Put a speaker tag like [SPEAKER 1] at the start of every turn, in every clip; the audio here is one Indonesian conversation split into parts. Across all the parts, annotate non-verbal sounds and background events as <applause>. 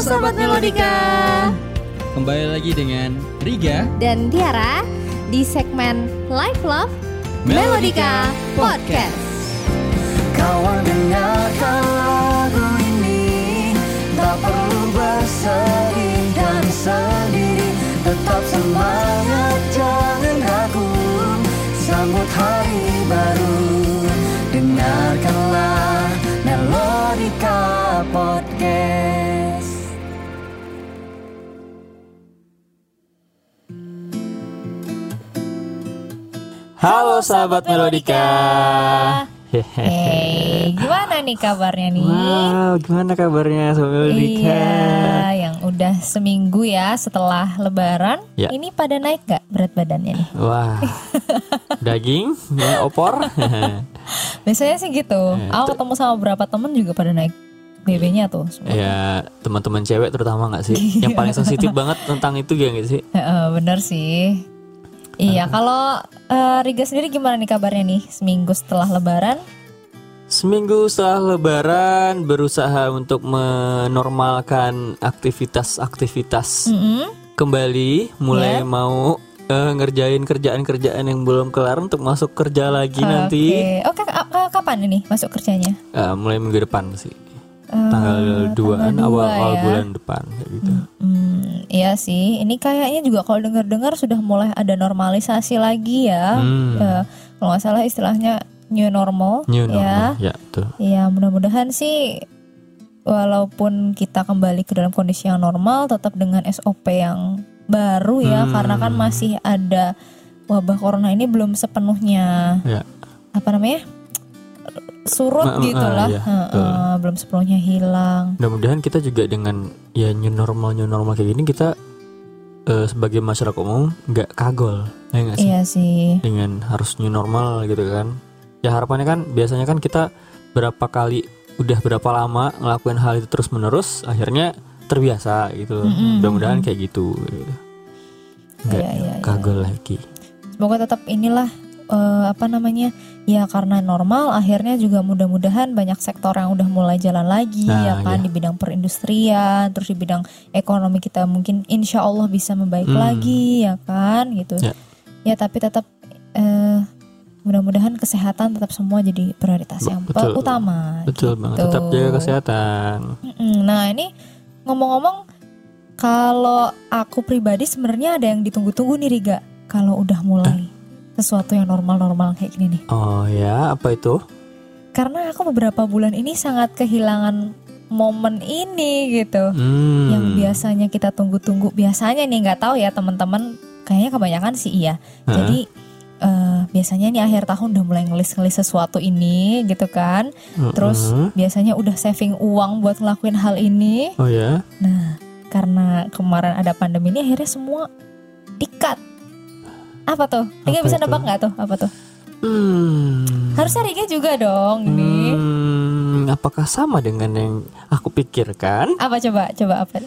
[SPEAKER 1] Sobat Melodika
[SPEAKER 2] Kembali lagi dengan Riga
[SPEAKER 1] dan Tiara di segmen Life Love Melodika Podcast.
[SPEAKER 3] Kawan dengarkan lagu ini Tak perlu bersedih dan sendiri Tetap semangat jangan ragu Sambut hari baru Dengarkanlah Melodika Podcast
[SPEAKER 4] Halo sahabat Melodika.
[SPEAKER 1] Hey, gimana nih kabarnya nih?
[SPEAKER 4] Wow, gimana kabarnya sobat Melodika?
[SPEAKER 1] Iya, yang udah seminggu ya setelah Lebaran.
[SPEAKER 4] Ya.
[SPEAKER 1] Ini pada naik gak berat badannya nih?
[SPEAKER 4] Wah. Daging, ya, opor.
[SPEAKER 1] Biasanya sih gitu.
[SPEAKER 4] Eh,
[SPEAKER 1] Aku
[SPEAKER 4] te-
[SPEAKER 1] ketemu sama beberapa temen juga pada naik BB-nya tuh. Semua.
[SPEAKER 4] ya, teman-teman cewek terutama nggak sih? Yang paling sensitif banget tentang itu ya nggak sih?
[SPEAKER 1] Heeh, Eh, bener sih. Iya, kalau eh, Riga sendiri gimana nih kabarnya nih seminggu setelah Lebaran?
[SPEAKER 4] Seminggu setelah lebaran berusaha untuk menormalkan aktivitas-aktivitas
[SPEAKER 1] Mm-mm.
[SPEAKER 4] kembali, mulai mau eh, ngerjain kerjaan-kerjaan yang belum kelar untuk masuk kerja lagi nanti
[SPEAKER 1] Ah, Oke. Oh, kak- kak- kapan ini masuk kerjanya?
[SPEAKER 4] Eh, mulai minggu depan sih.
[SPEAKER 1] Eh,
[SPEAKER 4] Tanggal 2-an
[SPEAKER 1] dua
[SPEAKER 4] awal, awal
[SPEAKER 1] ya.
[SPEAKER 4] bulan depan kayak gitu.
[SPEAKER 1] Hmm, iya sih. Ini kayaknya juga kalau dengar-dengar sudah mulai ada normalisasi lagi ya.
[SPEAKER 4] Hmm.
[SPEAKER 1] Eh, kalau nggak salah istilahnya new normal. ya.
[SPEAKER 4] New normal, ya, betul.
[SPEAKER 1] Ya mudah-mudahan sih walaupun kita kembali ke dalam kondisi yang normal tetap dengan SOP yang baru ya
[SPEAKER 4] Hmm.
[SPEAKER 1] karena kan masih ada wabah corona ini belum sepenuhnya
[SPEAKER 4] Ya.
[SPEAKER 1] apa namanya surut
[SPEAKER 4] Ma- ma-
[SPEAKER 1] gitu lah
[SPEAKER 4] iya,
[SPEAKER 1] Heeh,
[SPEAKER 4] betul.
[SPEAKER 1] belum sepenuhnya hilang
[SPEAKER 4] Mudah-mudahan kita juga dengan ya new normal new normal kayak gini kita eh, sebagai masyarakat umum nggak kagol, ya nggak sih?
[SPEAKER 1] iya sih
[SPEAKER 4] Dengan harus new normal gitu kan? Ya harapannya kan biasanya kan kita berapa kali udah berapa lama ngelakuin hal itu terus menerus akhirnya terbiasa gitu.
[SPEAKER 1] Mm-mm,
[SPEAKER 4] Mudah-mudahan
[SPEAKER 1] mm-mm.
[SPEAKER 4] kayak gitu. gitu. Nggak
[SPEAKER 1] Iya, iya, iya.
[SPEAKER 4] kagol lagi.
[SPEAKER 1] semoga tetap inilah eh, apa namanya ya karena normal akhirnya juga mudah-mudahan banyak sektor yang udah mulai jalan lagi ya
[SPEAKER 4] Nah,
[SPEAKER 1] kan
[SPEAKER 4] iya.
[SPEAKER 1] di bidang perindustrian terus di bidang ekonomi kita mungkin insya Allah bisa membaik
[SPEAKER 4] Hmm.
[SPEAKER 1] lagi ya kan gitu
[SPEAKER 4] Ya.
[SPEAKER 1] ya tapi tetap eh, mudah-mudahan kesehatan tetap semua jadi prioritas
[SPEAKER 4] Be-
[SPEAKER 1] yang
[SPEAKER 4] betul.
[SPEAKER 1] utama
[SPEAKER 4] Betul banget.
[SPEAKER 1] gitu.
[SPEAKER 4] Tetap jaga kesehatan.
[SPEAKER 1] Mm-mm. Nah ini ngomong-ngomong kalau aku pribadi sebenarnya ada yang ditunggu-tunggu nih Riga kalau udah mulai sesuatu yang normal-normal kayak gini nih.
[SPEAKER 4] Oh ya, apa itu?
[SPEAKER 1] Karena aku beberapa bulan ini sangat kehilangan momen ini gitu.
[SPEAKER 4] Hmm.
[SPEAKER 1] Yang biasanya kita tunggu-tunggu biasanya nih nggak tahu ya teman-teman kayaknya kebanyakan sih iya.
[SPEAKER 4] Heeh.
[SPEAKER 1] Jadi eh, biasanya nih akhir tahun udah mulai ngelis-ngelis sesuatu ini gitu kan. Terus
[SPEAKER 4] Mm-mm.
[SPEAKER 1] biasanya udah saving uang buat ngelakuin hal ini.
[SPEAKER 4] Oh ya.
[SPEAKER 1] Nah, karena kemarin ada pandemi ini akhirnya semua dikat. Apa tuh? Riga
[SPEAKER 4] Apa
[SPEAKER 1] bisa
[SPEAKER 4] itu?
[SPEAKER 1] nebak nggak tuh? Apa tuh?
[SPEAKER 4] Hmm.
[SPEAKER 1] Harusnya Riga juga dong ini.
[SPEAKER 4] Hmm, apakah sama dengan yang aku pikirkan?
[SPEAKER 1] Apa coba? Coba apa?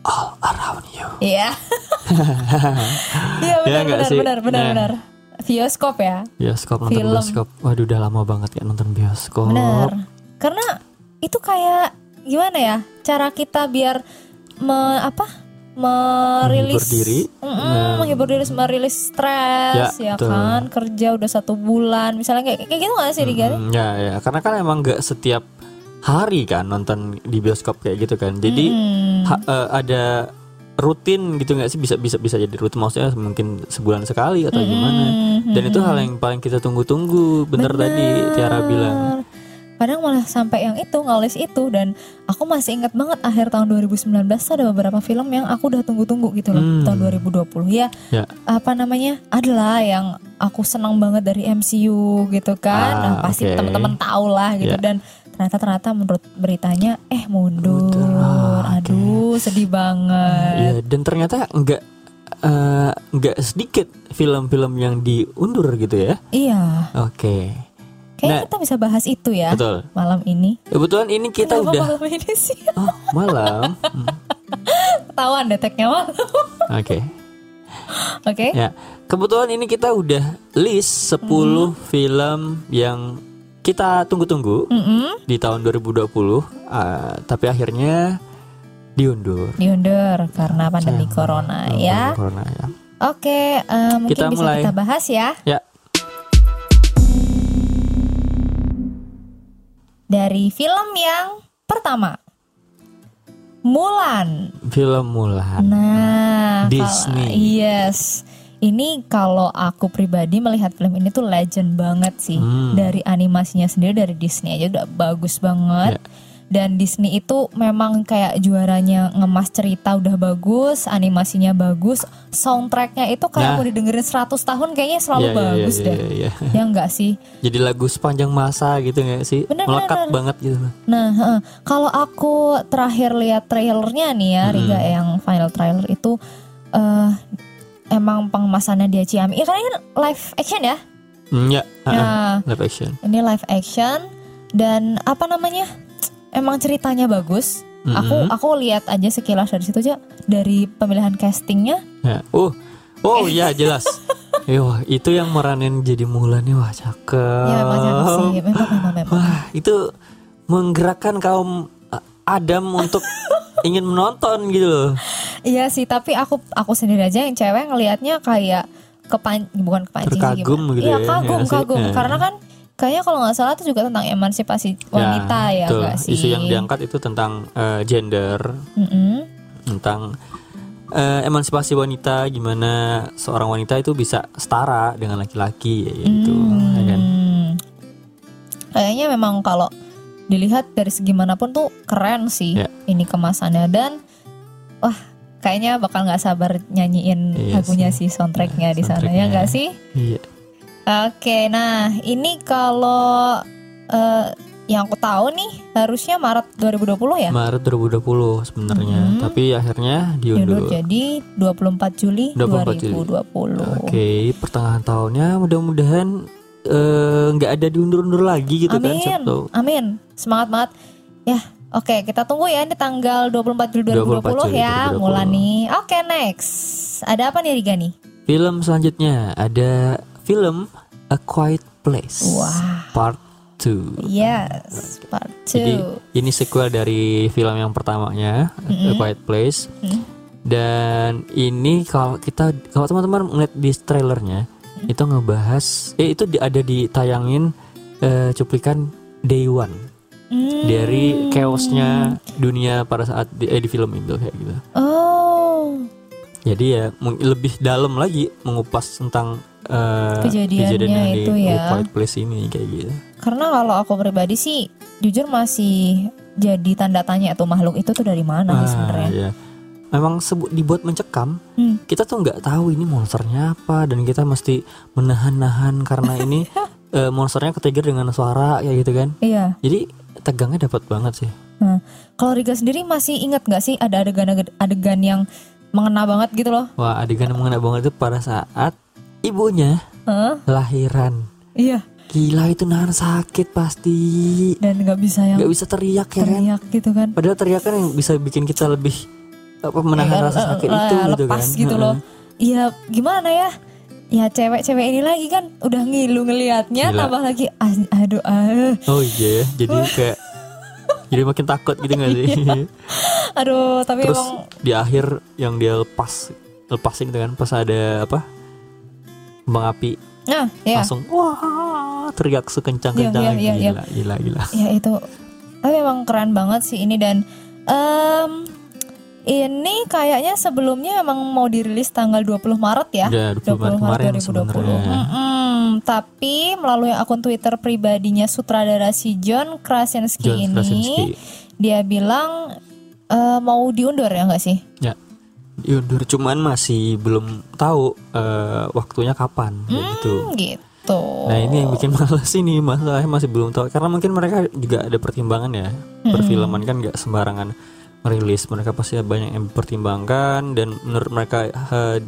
[SPEAKER 4] All around you. <laughs>
[SPEAKER 1] Iya. Iya benar
[SPEAKER 4] Ya nggak
[SPEAKER 1] benar
[SPEAKER 4] sih?
[SPEAKER 1] benar benar
[SPEAKER 4] Nah.
[SPEAKER 1] benar. Bioskop ya.
[SPEAKER 4] Bioskop nonton
[SPEAKER 1] Film.
[SPEAKER 4] bioskop. Waduh udah lama banget ya nonton bioskop.
[SPEAKER 1] Benar. Karena itu kayak gimana ya? Cara kita biar me, apa? merilis
[SPEAKER 4] Menghibur diri.
[SPEAKER 1] Mm-mm,
[SPEAKER 4] Nah.
[SPEAKER 1] menghibur diri, merilis stres, ya,
[SPEAKER 4] Ya, betul.
[SPEAKER 1] kan? Kerja udah satu bulan, misalnya kayak kayak gitu nggak sih, Riga?
[SPEAKER 4] Mm, ya ya, karena kan emang nggak setiap hari kan nonton di bioskop kayak gitu kan. Jadi
[SPEAKER 1] Mm-mm.
[SPEAKER 4] ha- eh, ada rutin gitu nggak sih bisa bisa bisa jadi rutin maksudnya mungkin sebulan sekali
[SPEAKER 1] Hmm,
[SPEAKER 4] atau gimana.
[SPEAKER 1] Mm-mm.
[SPEAKER 4] Dan itu hal yang paling kita tunggu-tunggu. Bener, tadi Tiara bilang.
[SPEAKER 1] Kadang malah sampai yang itu ngelis itu dan aku masih ingat banget akhir tahun 2019 ada beberapa film yang aku udah tunggu-tunggu gitu loh
[SPEAKER 4] Hmm.
[SPEAKER 1] tahun 2020 ya.
[SPEAKER 4] Ya.
[SPEAKER 1] Apa namanya? Adalah yang aku senang banget dari MCU gitu kan.
[SPEAKER 4] Ah,
[SPEAKER 1] nah, pasti
[SPEAKER 4] oke.
[SPEAKER 1] teman-teman tahu lah gitu
[SPEAKER 4] Ya.
[SPEAKER 1] dan ternyata ternyata menurut beritanya eh mundur.
[SPEAKER 4] Mundur, ah, oke.
[SPEAKER 1] Aduh, sedih banget.
[SPEAKER 4] Iya, dan ternyata nggak eh, nggak sedikit film-film yang diundur gitu ya.
[SPEAKER 1] Iya.
[SPEAKER 4] Oke,
[SPEAKER 1] Kayaknya
[SPEAKER 4] Nah.
[SPEAKER 1] kita bisa bahas itu ya
[SPEAKER 4] betul.
[SPEAKER 1] malam ini.
[SPEAKER 4] Kebetulan ini kita
[SPEAKER 1] Kenapa
[SPEAKER 4] udah
[SPEAKER 1] malam ini sih? <laughs>
[SPEAKER 4] oh, malam. Hmm,
[SPEAKER 1] ketahuan deteknya <laughs> malam. Oke.
[SPEAKER 4] Oke.
[SPEAKER 1] Hmm.
[SPEAKER 4] Ya. Kebetulan ini kita udah list 10 film yang kita tunggu-tunggu
[SPEAKER 1] Mm-mm,
[SPEAKER 4] di tahun 2020 eh, tapi akhirnya diundur
[SPEAKER 1] diundur karena pandemi
[SPEAKER 4] Sayang.
[SPEAKER 1] corona
[SPEAKER 4] Eh,
[SPEAKER 1] ya.
[SPEAKER 4] corona ya
[SPEAKER 1] Oke, eh, mungkin
[SPEAKER 4] Kita
[SPEAKER 1] bisa
[SPEAKER 4] mulai.
[SPEAKER 1] kita bahas ya.
[SPEAKER 4] Ya.
[SPEAKER 1] Dari film yang pertama, Mulan.
[SPEAKER 4] film Mulan
[SPEAKER 1] Nah, kalau-
[SPEAKER 4] Disney.
[SPEAKER 1] yes. Ini kalau aku pribadi melihat film ini tuh legend banget sih.
[SPEAKER 4] Hmm.
[SPEAKER 1] Dari animasinya sendiri dari Disney aja udah bagus banget.
[SPEAKER 4] Ya.
[SPEAKER 1] Dan Disney itu memang kayak juaranya ngemas cerita udah bagus, animasinya bagus, soundtracknya itu kayak
[SPEAKER 4] Nah.
[SPEAKER 1] mau didengerin 100 tahun kayaknya selalu
[SPEAKER 4] Iya, iya, iya,
[SPEAKER 1] bagus
[SPEAKER 4] iya,
[SPEAKER 1] deh.
[SPEAKER 4] iya, iya.
[SPEAKER 1] Ya enggak sih?
[SPEAKER 4] jadi lagu sepanjang masa gitu nggak sih
[SPEAKER 1] Bener,
[SPEAKER 4] melekat
[SPEAKER 1] bener.
[SPEAKER 4] banget gitu
[SPEAKER 1] Nah, heeh. kalau aku terakhir lihat trailernya nih ya,
[SPEAKER 4] Mm-mm.
[SPEAKER 1] Riga yang final trailer itu eh emang pengemasannya dia Ciami. Ini kan live action ya?
[SPEAKER 4] Hmm, ya ah, ah,
[SPEAKER 1] Nah,
[SPEAKER 4] live action
[SPEAKER 1] ini live action dan apa namanya? Emang ceritanya bagus. Aku
[SPEAKER 4] Mm-mm.
[SPEAKER 1] aku lihat aja sekilas dari situ aja dari pemilihan castingnya.
[SPEAKER 4] Ya. oh oh ya
[SPEAKER 1] <laughs>
[SPEAKER 4] jelas Eh, wah, itu yang meranin jadi Mulan nih wah cakep
[SPEAKER 1] ya memang
[SPEAKER 4] Oh.
[SPEAKER 1] cakep sih, memang memang memang.
[SPEAKER 4] Wah, itu menggerakkan kaum uh, Adam
[SPEAKER 1] <laughs>
[SPEAKER 4] untuk ingin menonton gitu loh.
[SPEAKER 1] Iya sih, tapi aku aku sendiri aja yang cewek ngelihatnya kayak kepan bukan kepancing sih,
[SPEAKER 4] Terkagum
[SPEAKER 1] gimana.
[SPEAKER 4] gitu
[SPEAKER 1] Iya,
[SPEAKER 4] ya,
[SPEAKER 1] kagum
[SPEAKER 4] ya sih.
[SPEAKER 1] kagum
[SPEAKER 4] Ya.
[SPEAKER 1] karena kan kayaknya kalau nggak salah itu juga tentang emansipasi wanita ya,
[SPEAKER 4] betul.
[SPEAKER 1] nggak sih?
[SPEAKER 4] Isu yang diangkat itu tentang uh, gender,
[SPEAKER 1] Mm-mm.
[SPEAKER 4] tentang uh, emansipasi wanita, gimana seorang wanita itu bisa setara dengan laki-laki ya, gitu. ya kan?
[SPEAKER 1] Hmm. Kayaknya memang kalau dilihat dari segi manapun tuh keren sih
[SPEAKER 4] Ya.
[SPEAKER 1] ini kemasannya dan wah kayaknya bakal nggak sabar nyanyiin
[SPEAKER 4] Iya
[SPEAKER 1] lagunya
[SPEAKER 4] sih.
[SPEAKER 1] sih soundtracknya
[SPEAKER 4] Ya,
[SPEAKER 1] di sana ya
[SPEAKER 4] soundtracknya.
[SPEAKER 1] nggak sih?
[SPEAKER 4] Iya.
[SPEAKER 1] Oke, nah ini kalau eh, yang aku tahu nih harusnya Maret 2020 ya.
[SPEAKER 4] Maret 2020 sebenarnya,
[SPEAKER 1] Mhm.
[SPEAKER 4] tapi akhirnya
[SPEAKER 1] Diundur
[SPEAKER 4] diundur.
[SPEAKER 1] Ya jadi 24 Juli
[SPEAKER 4] 24 Juli.
[SPEAKER 1] 2020.
[SPEAKER 4] Oke, pertengahan tahunnya mudah-mudahan eh, nggak ada diundur-undur lagi gitu kan
[SPEAKER 1] Amin.
[SPEAKER 4] Sabtu.
[SPEAKER 1] Amin. Semangat banget. Ya, oke, kita tunggu ya di tanggal 24 Juli 2020
[SPEAKER 4] 24 Juli
[SPEAKER 1] ya.
[SPEAKER 4] 2020.
[SPEAKER 1] Mulai nih. Oke, next. Ada apa nih Riga nih?
[SPEAKER 4] Film selanjutnya ada film A Quiet Place
[SPEAKER 1] Wah.
[SPEAKER 4] Part 2.
[SPEAKER 1] Yes, part 2.
[SPEAKER 4] Jadi ini sequel dari film yang pertamanya A
[SPEAKER 1] Mm-mm.
[SPEAKER 4] Quiet Place.
[SPEAKER 1] Mm.
[SPEAKER 4] Dan ini kalau kita kalau teman-teman ngeliat di trailernya
[SPEAKER 1] Mm-hmm.
[SPEAKER 4] itu ngebahas eh itu di- ada ditayangin eh, cuplikan Day One
[SPEAKER 1] Hmm.
[SPEAKER 4] dari chaosnya dunia pada saat di, eh, di film itu kayak gitu.
[SPEAKER 1] Oh.
[SPEAKER 4] Jadi ya mung- lebih dalam lagi mengupas tentang eh,
[SPEAKER 1] Kejadiannya
[SPEAKER 4] yang di
[SPEAKER 1] itu ya.
[SPEAKER 4] A Quiet Place ini kayak gitu.
[SPEAKER 1] Karena kalau aku pribadi sih jujur masih jadi tanda tanya tuh makhluk itu tuh dari mana sih sebenarnya.
[SPEAKER 4] ya. Memang sebut dibuat mencekam.
[SPEAKER 1] Hmm.
[SPEAKER 4] Kita tuh nggak tahu ini monsternya apa dan kita mesti menahan-nahan karena
[SPEAKER 1] <laughs>
[SPEAKER 4] ini eh, monsternya ketrigger dengan suara kayak gitu kan.
[SPEAKER 1] Iya. Nah,
[SPEAKER 4] Jadi tegangnya dapat banget sih.
[SPEAKER 1] Kalau Riga sendiri masih ingat nggak sih ada adegan-adegan yang mengena banget gitu loh?
[SPEAKER 4] Wah, adegan yang mengena banget itu pada saat ibunya
[SPEAKER 1] Hah?
[SPEAKER 4] lahiran.
[SPEAKER 1] Iya.
[SPEAKER 4] Gila itu nahan sakit pasti.
[SPEAKER 1] Dan nggak bisa yang
[SPEAKER 4] Nggak bisa teriak ya kan.
[SPEAKER 1] Iya. teriak gitu kan?
[SPEAKER 4] Padahal teriakan yang bisa bikin kita lebih apa menahan
[SPEAKER 1] Eh,
[SPEAKER 4] rasa
[SPEAKER 1] eh,
[SPEAKER 4] sakit
[SPEAKER 1] eh,
[SPEAKER 4] itu gitu
[SPEAKER 1] lepas
[SPEAKER 4] kan.
[SPEAKER 1] gitu
[SPEAKER 4] Heeh.
[SPEAKER 1] loh. Iya gimana ya? Ya cewek-cewek ini lagi kan udah ngilu ngelihatnya
[SPEAKER 4] Gila.
[SPEAKER 1] tambah lagi "Ah, aduh ah,
[SPEAKER 4] Oh iya, ya, jadi kayak jadi makin takut gitu nggak
[SPEAKER 1] <laughs>
[SPEAKER 4] sih?
[SPEAKER 1] Iya. aduh tapi
[SPEAKER 4] Terus
[SPEAKER 1] emang
[SPEAKER 4] di akhir yang dia lepas lepasin gitu kan pas ada apa kembang api
[SPEAKER 1] nah ya
[SPEAKER 4] langsung wah teriak sekencang kencang
[SPEAKER 1] Iya, iya, iya,
[SPEAKER 4] gila, gila gila
[SPEAKER 1] ya itu tapi emang keren banget sih ini dan em, ini kayaknya sebelumnya emang mau dirilis tanggal 20 Maret ya
[SPEAKER 4] Udah 20 Iya, Maret kemarin
[SPEAKER 1] 2020.
[SPEAKER 4] sebenarnya.
[SPEAKER 1] Mm-mm, tapi melalui akun Twitter pribadinya sutradara si John Krasinski
[SPEAKER 4] John
[SPEAKER 1] ini
[SPEAKER 4] Krasinski
[SPEAKER 1] dia bilang eh, mau diundur ya nggak sih?
[SPEAKER 4] ya diundur cuman masih belum tahu eh, waktunya kapan kayak gitu
[SPEAKER 1] Hmm, gitu.
[SPEAKER 4] nah ini yang bikin males ini masalahnya masih belum tahu karena mungkin mereka juga ada pertimbangan ya
[SPEAKER 1] Hmm.
[SPEAKER 4] perfilman kan nggak sembarangan rilis mereka pasti banyak yang pertimbangkan dan menurut mereka eh,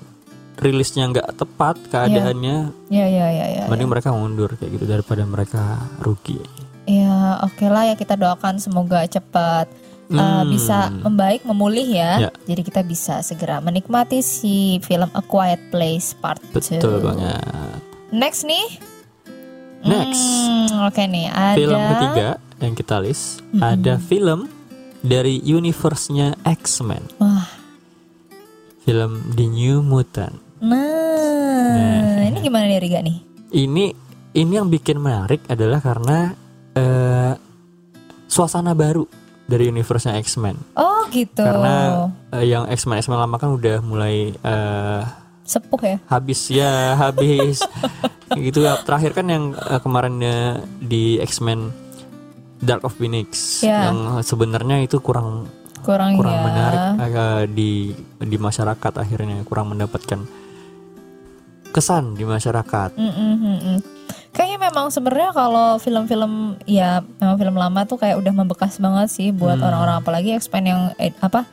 [SPEAKER 4] rilisnya nggak tepat
[SPEAKER 1] Iya.
[SPEAKER 4] keadaannya
[SPEAKER 1] Ya ya ya ya.
[SPEAKER 4] mending mereka mundur kayak gitu daripada mereka rugi
[SPEAKER 1] Ya oke lah ya kita doakan semoga cepat eh,
[SPEAKER 4] Hmm.
[SPEAKER 1] bisa membaik memulih ya.
[SPEAKER 4] Ya.
[SPEAKER 1] Jadi kita bisa segera menikmati si film A Quiet Place Part 2.
[SPEAKER 4] betul banget
[SPEAKER 1] Next nih.
[SPEAKER 4] Next.
[SPEAKER 1] Hmm, oke nih ada
[SPEAKER 4] Film ketiga yang kita list ada film dari universe-nya X-Men,
[SPEAKER 1] Wah,
[SPEAKER 4] film The New Mutant.
[SPEAKER 1] nah, ini gimana nih Riga nih?
[SPEAKER 4] Ini ini yang bikin menarik adalah karena eh, suasana baru dari universe-nya X-Men.
[SPEAKER 1] Oh gitu.
[SPEAKER 4] Karena eh, yang X-Men X-Men lama kan udah mulai eh,
[SPEAKER 1] sepuh ya.
[SPEAKER 4] habis ya habis gitu ya. terakhir kan yang eh, kemarin eh, di X-Men Dark of Phoenix
[SPEAKER 1] Ya.
[SPEAKER 4] yang sebenarnya itu kurang
[SPEAKER 1] Kurang,
[SPEAKER 4] kurang
[SPEAKER 1] ya.
[SPEAKER 4] menarik eh, di di masyarakat akhirnya kurang mendapatkan kesan di masyarakat
[SPEAKER 1] Mm, mm, mm, mm. Kayaknya memang sebenarnya kalau film-film ya memang film lama tuh kayak udah membekas banget sih buat orang-orang apalagi X-Men yang eh, apa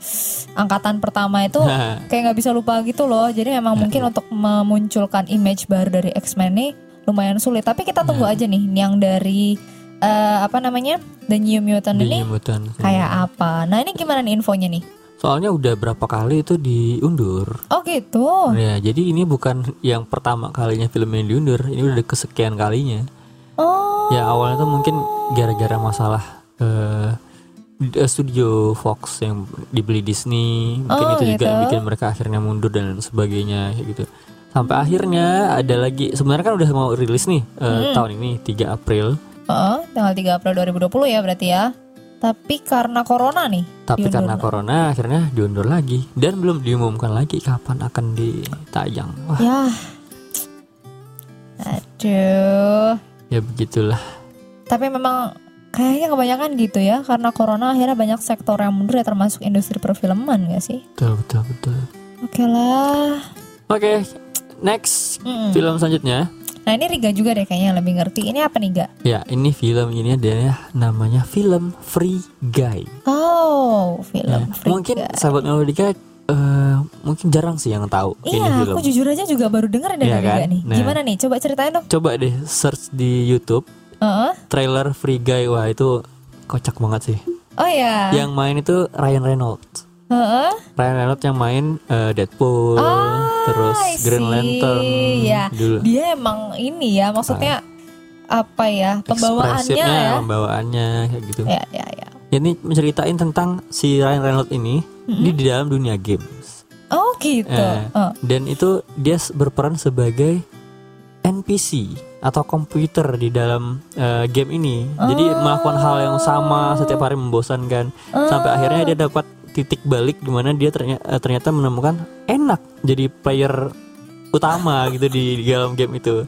[SPEAKER 1] angkatan pertama <laughs>
[SPEAKER 4] <laughs>
[SPEAKER 1] itu
[SPEAKER 4] Nah,
[SPEAKER 1] kayak nggak bisa lupa gitu loh. Jadi memang mungkin untuk memunculkan image baru dari X-Men nih lumayan sulit. Tapi kita tunggu aja nih yang dari eh, apa namanya The New Mutant
[SPEAKER 4] di
[SPEAKER 1] ini
[SPEAKER 4] New Mutant.
[SPEAKER 1] kayak apa. Nah ini gimana nih infonya nih?
[SPEAKER 4] soalnya udah berapa kali itu diundur
[SPEAKER 1] Oh gitu.
[SPEAKER 4] ya jadi ini bukan yang pertama kalinya film ini diundur ini udah kesekian kalinya
[SPEAKER 1] Oh.
[SPEAKER 4] Ya awalnya tuh mungkin gara-gara masalah eh, d- eh, studio Fox yang dibeli Disney, mungkin
[SPEAKER 1] Oh,
[SPEAKER 4] itu juga yang
[SPEAKER 1] gitu.
[SPEAKER 4] bikin mereka akhirnya mundur dan lain sebagainya kayak gitu. Sampai akhirnya ada lagi sebenarnya kan udah mau rilis nih eh,
[SPEAKER 1] Hmm.
[SPEAKER 4] tahun ini 3 April,
[SPEAKER 1] Heeh, Eh, tanggal 3 April 2020 ya berarti ya. Tapi karena corona nih.
[SPEAKER 4] tapi
[SPEAKER 1] diundur.
[SPEAKER 4] karena corona akhirnya diundur lagi dan belum diumumkan lagi kapan akan ditayang. Wah,
[SPEAKER 1] Ya. Aduh.
[SPEAKER 4] ya begitulah.
[SPEAKER 1] Tapi memang kayaknya kebanyakan gitu ya karena corona akhirnya banyak sektor yang mundur ya termasuk industri perfilman gak sih?
[SPEAKER 4] Betul betul betul.
[SPEAKER 1] Oke lah.
[SPEAKER 4] Oke, next
[SPEAKER 1] Mm-mm.
[SPEAKER 4] film selanjutnya.
[SPEAKER 1] Nah ini Riga juga deh kayaknya yang lebih ngerti. Ini apa nih gak?
[SPEAKER 4] Ya, ini film ini adalah namanya film Free Guy. Ya,
[SPEAKER 1] Oh film. Free
[SPEAKER 4] mungkin
[SPEAKER 1] Guy.
[SPEAKER 4] sahabat Melodika eh, mungkin jarang sih yang tahu ini
[SPEAKER 1] Iya,
[SPEAKER 4] film.
[SPEAKER 1] aku jujur aja juga baru denger dari
[SPEAKER 4] Iya
[SPEAKER 1] Riga
[SPEAKER 4] kan?
[SPEAKER 1] nih.
[SPEAKER 4] Nah.
[SPEAKER 1] Gimana nih? Coba ceritain dong.
[SPEAKER 4] Coba deh search di YouTube
[SPEAKER 1] Heeh.
[SPEAKER 4] trailer Free Guy wah itu kocak banget sih.
[SPEAKER 1] Oh ya.
[SPEAKER 4] Yang main itu Ryan Reynolds.
[SPEAKER 1] Heeh.
[SPEAKER 4] Ryan Reynolds yang main eh, Deadpool,
[SPEAKER 1] Ah,
[SPEAKER 4] terus
[SPEAKER 1] I
[SPEAKER 4] Green
[SPEAKER 1] see.
[SPEAKER 4] Lantern
[SPEAKER 1] Ya,
[SPEAKER 4] dulu.
[SPEAKER 1] Dia emang ini ya, maksudnya
[SPEAKER 4] Ah.
[SPEAKER 1] apa ya pembawaannya
[SPEAKER 4] Ekspresifnya,
[SPEAKER 1] ya?
[SPEAKER 4] pembawaannya kayak gitu.
[SPEAKER 1] Ya, ya, ya.
[SPEAKER 4] Ini menceritain tentang si Ryan Reynolds ini dia di dalam dunia games.
[SPEAKER 1] Oh gitu.
[SPEAKER 4] Eh,
[SPEAKER 1] Oh,
[SPEAKER 4] Dan itu dia s- berperan sebagai NPC atau komputer di dalam eh, game ini.
[SPEAKER 1] Ah.
[SPEAKER 4] Jadi melakukan hal yang sama setiap hari membosankan
[SPEAKER 1] Ah.
[SPEAKER 4] sampai akhirnya dia dapat titik balik di mana dia ternya- eh, ternyata, menemukan enak jadi player
[SPEAKER 1] <laughs>
[SPEAKER 4] utama gitu di, di dalam game itu.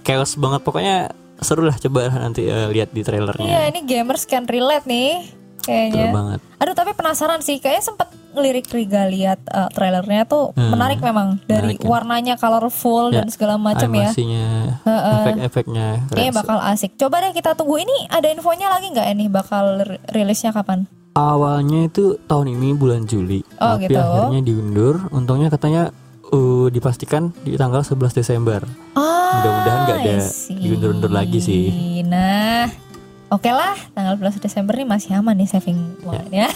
[SPEAKER 4] Chaos banget pokoknya seru lah coba nanti eh, lihat di trailernya.
[SPEAKER 1] Iya, ini gamers can relate nih
[SPEAKER 4] Betul
[SPEAKER 1] kayaknya.
[SPEAKER 4] banget.
[SPEAKER 1] Aduh, tapi penasaran sih. Kayaknya sempet ngelirik Riga lihat eh, trailernya tuh menarik memang dari
[SPEAKER 4] Hmm. Menarik ya.
[SPEAKER 1] warnanya colorful
[SPEAKER 4] Ya,
[SPEAKER 1] dan segala macam ya.
[SPEAKER 4] Animasinya,
[SPEAKER 1] Heeh. Iya,
[SPEAKER 4] efek-efeknya keren
[SPEAKER 1] Kayaknya
[SPEAKER 4] sih.
[SPEAKER 1] bakal asik. Coba deh kita tunggu ini ada infonya lagi nggak ini bakal ri- rilisnya kapan?
[SPEAKER 4] Awalnya itu tahun ini bulan Juli,
[SPEAKER 1] Oh,
[SPEAKER 4] tapi
[SPEAKER 1] gitu.
[SPEAKER 4] akhirnya diundur. Untungnya katanya uh, dipastikan di tanggal 11 Desember.
[SPEAKER 1] Ah,
[SPEAKER 4] Mudah-mudahan nggak ada
[SPEAKER 1] I see.
[SPEAKER 4] diundur-undur lagi sih.
[SPEAKER 1] Nah, oke lah, tanggal 11 Desember nih masih aman nih saving
[SPEAKER 4] Ya.
[SPEAKER 1] uangnya.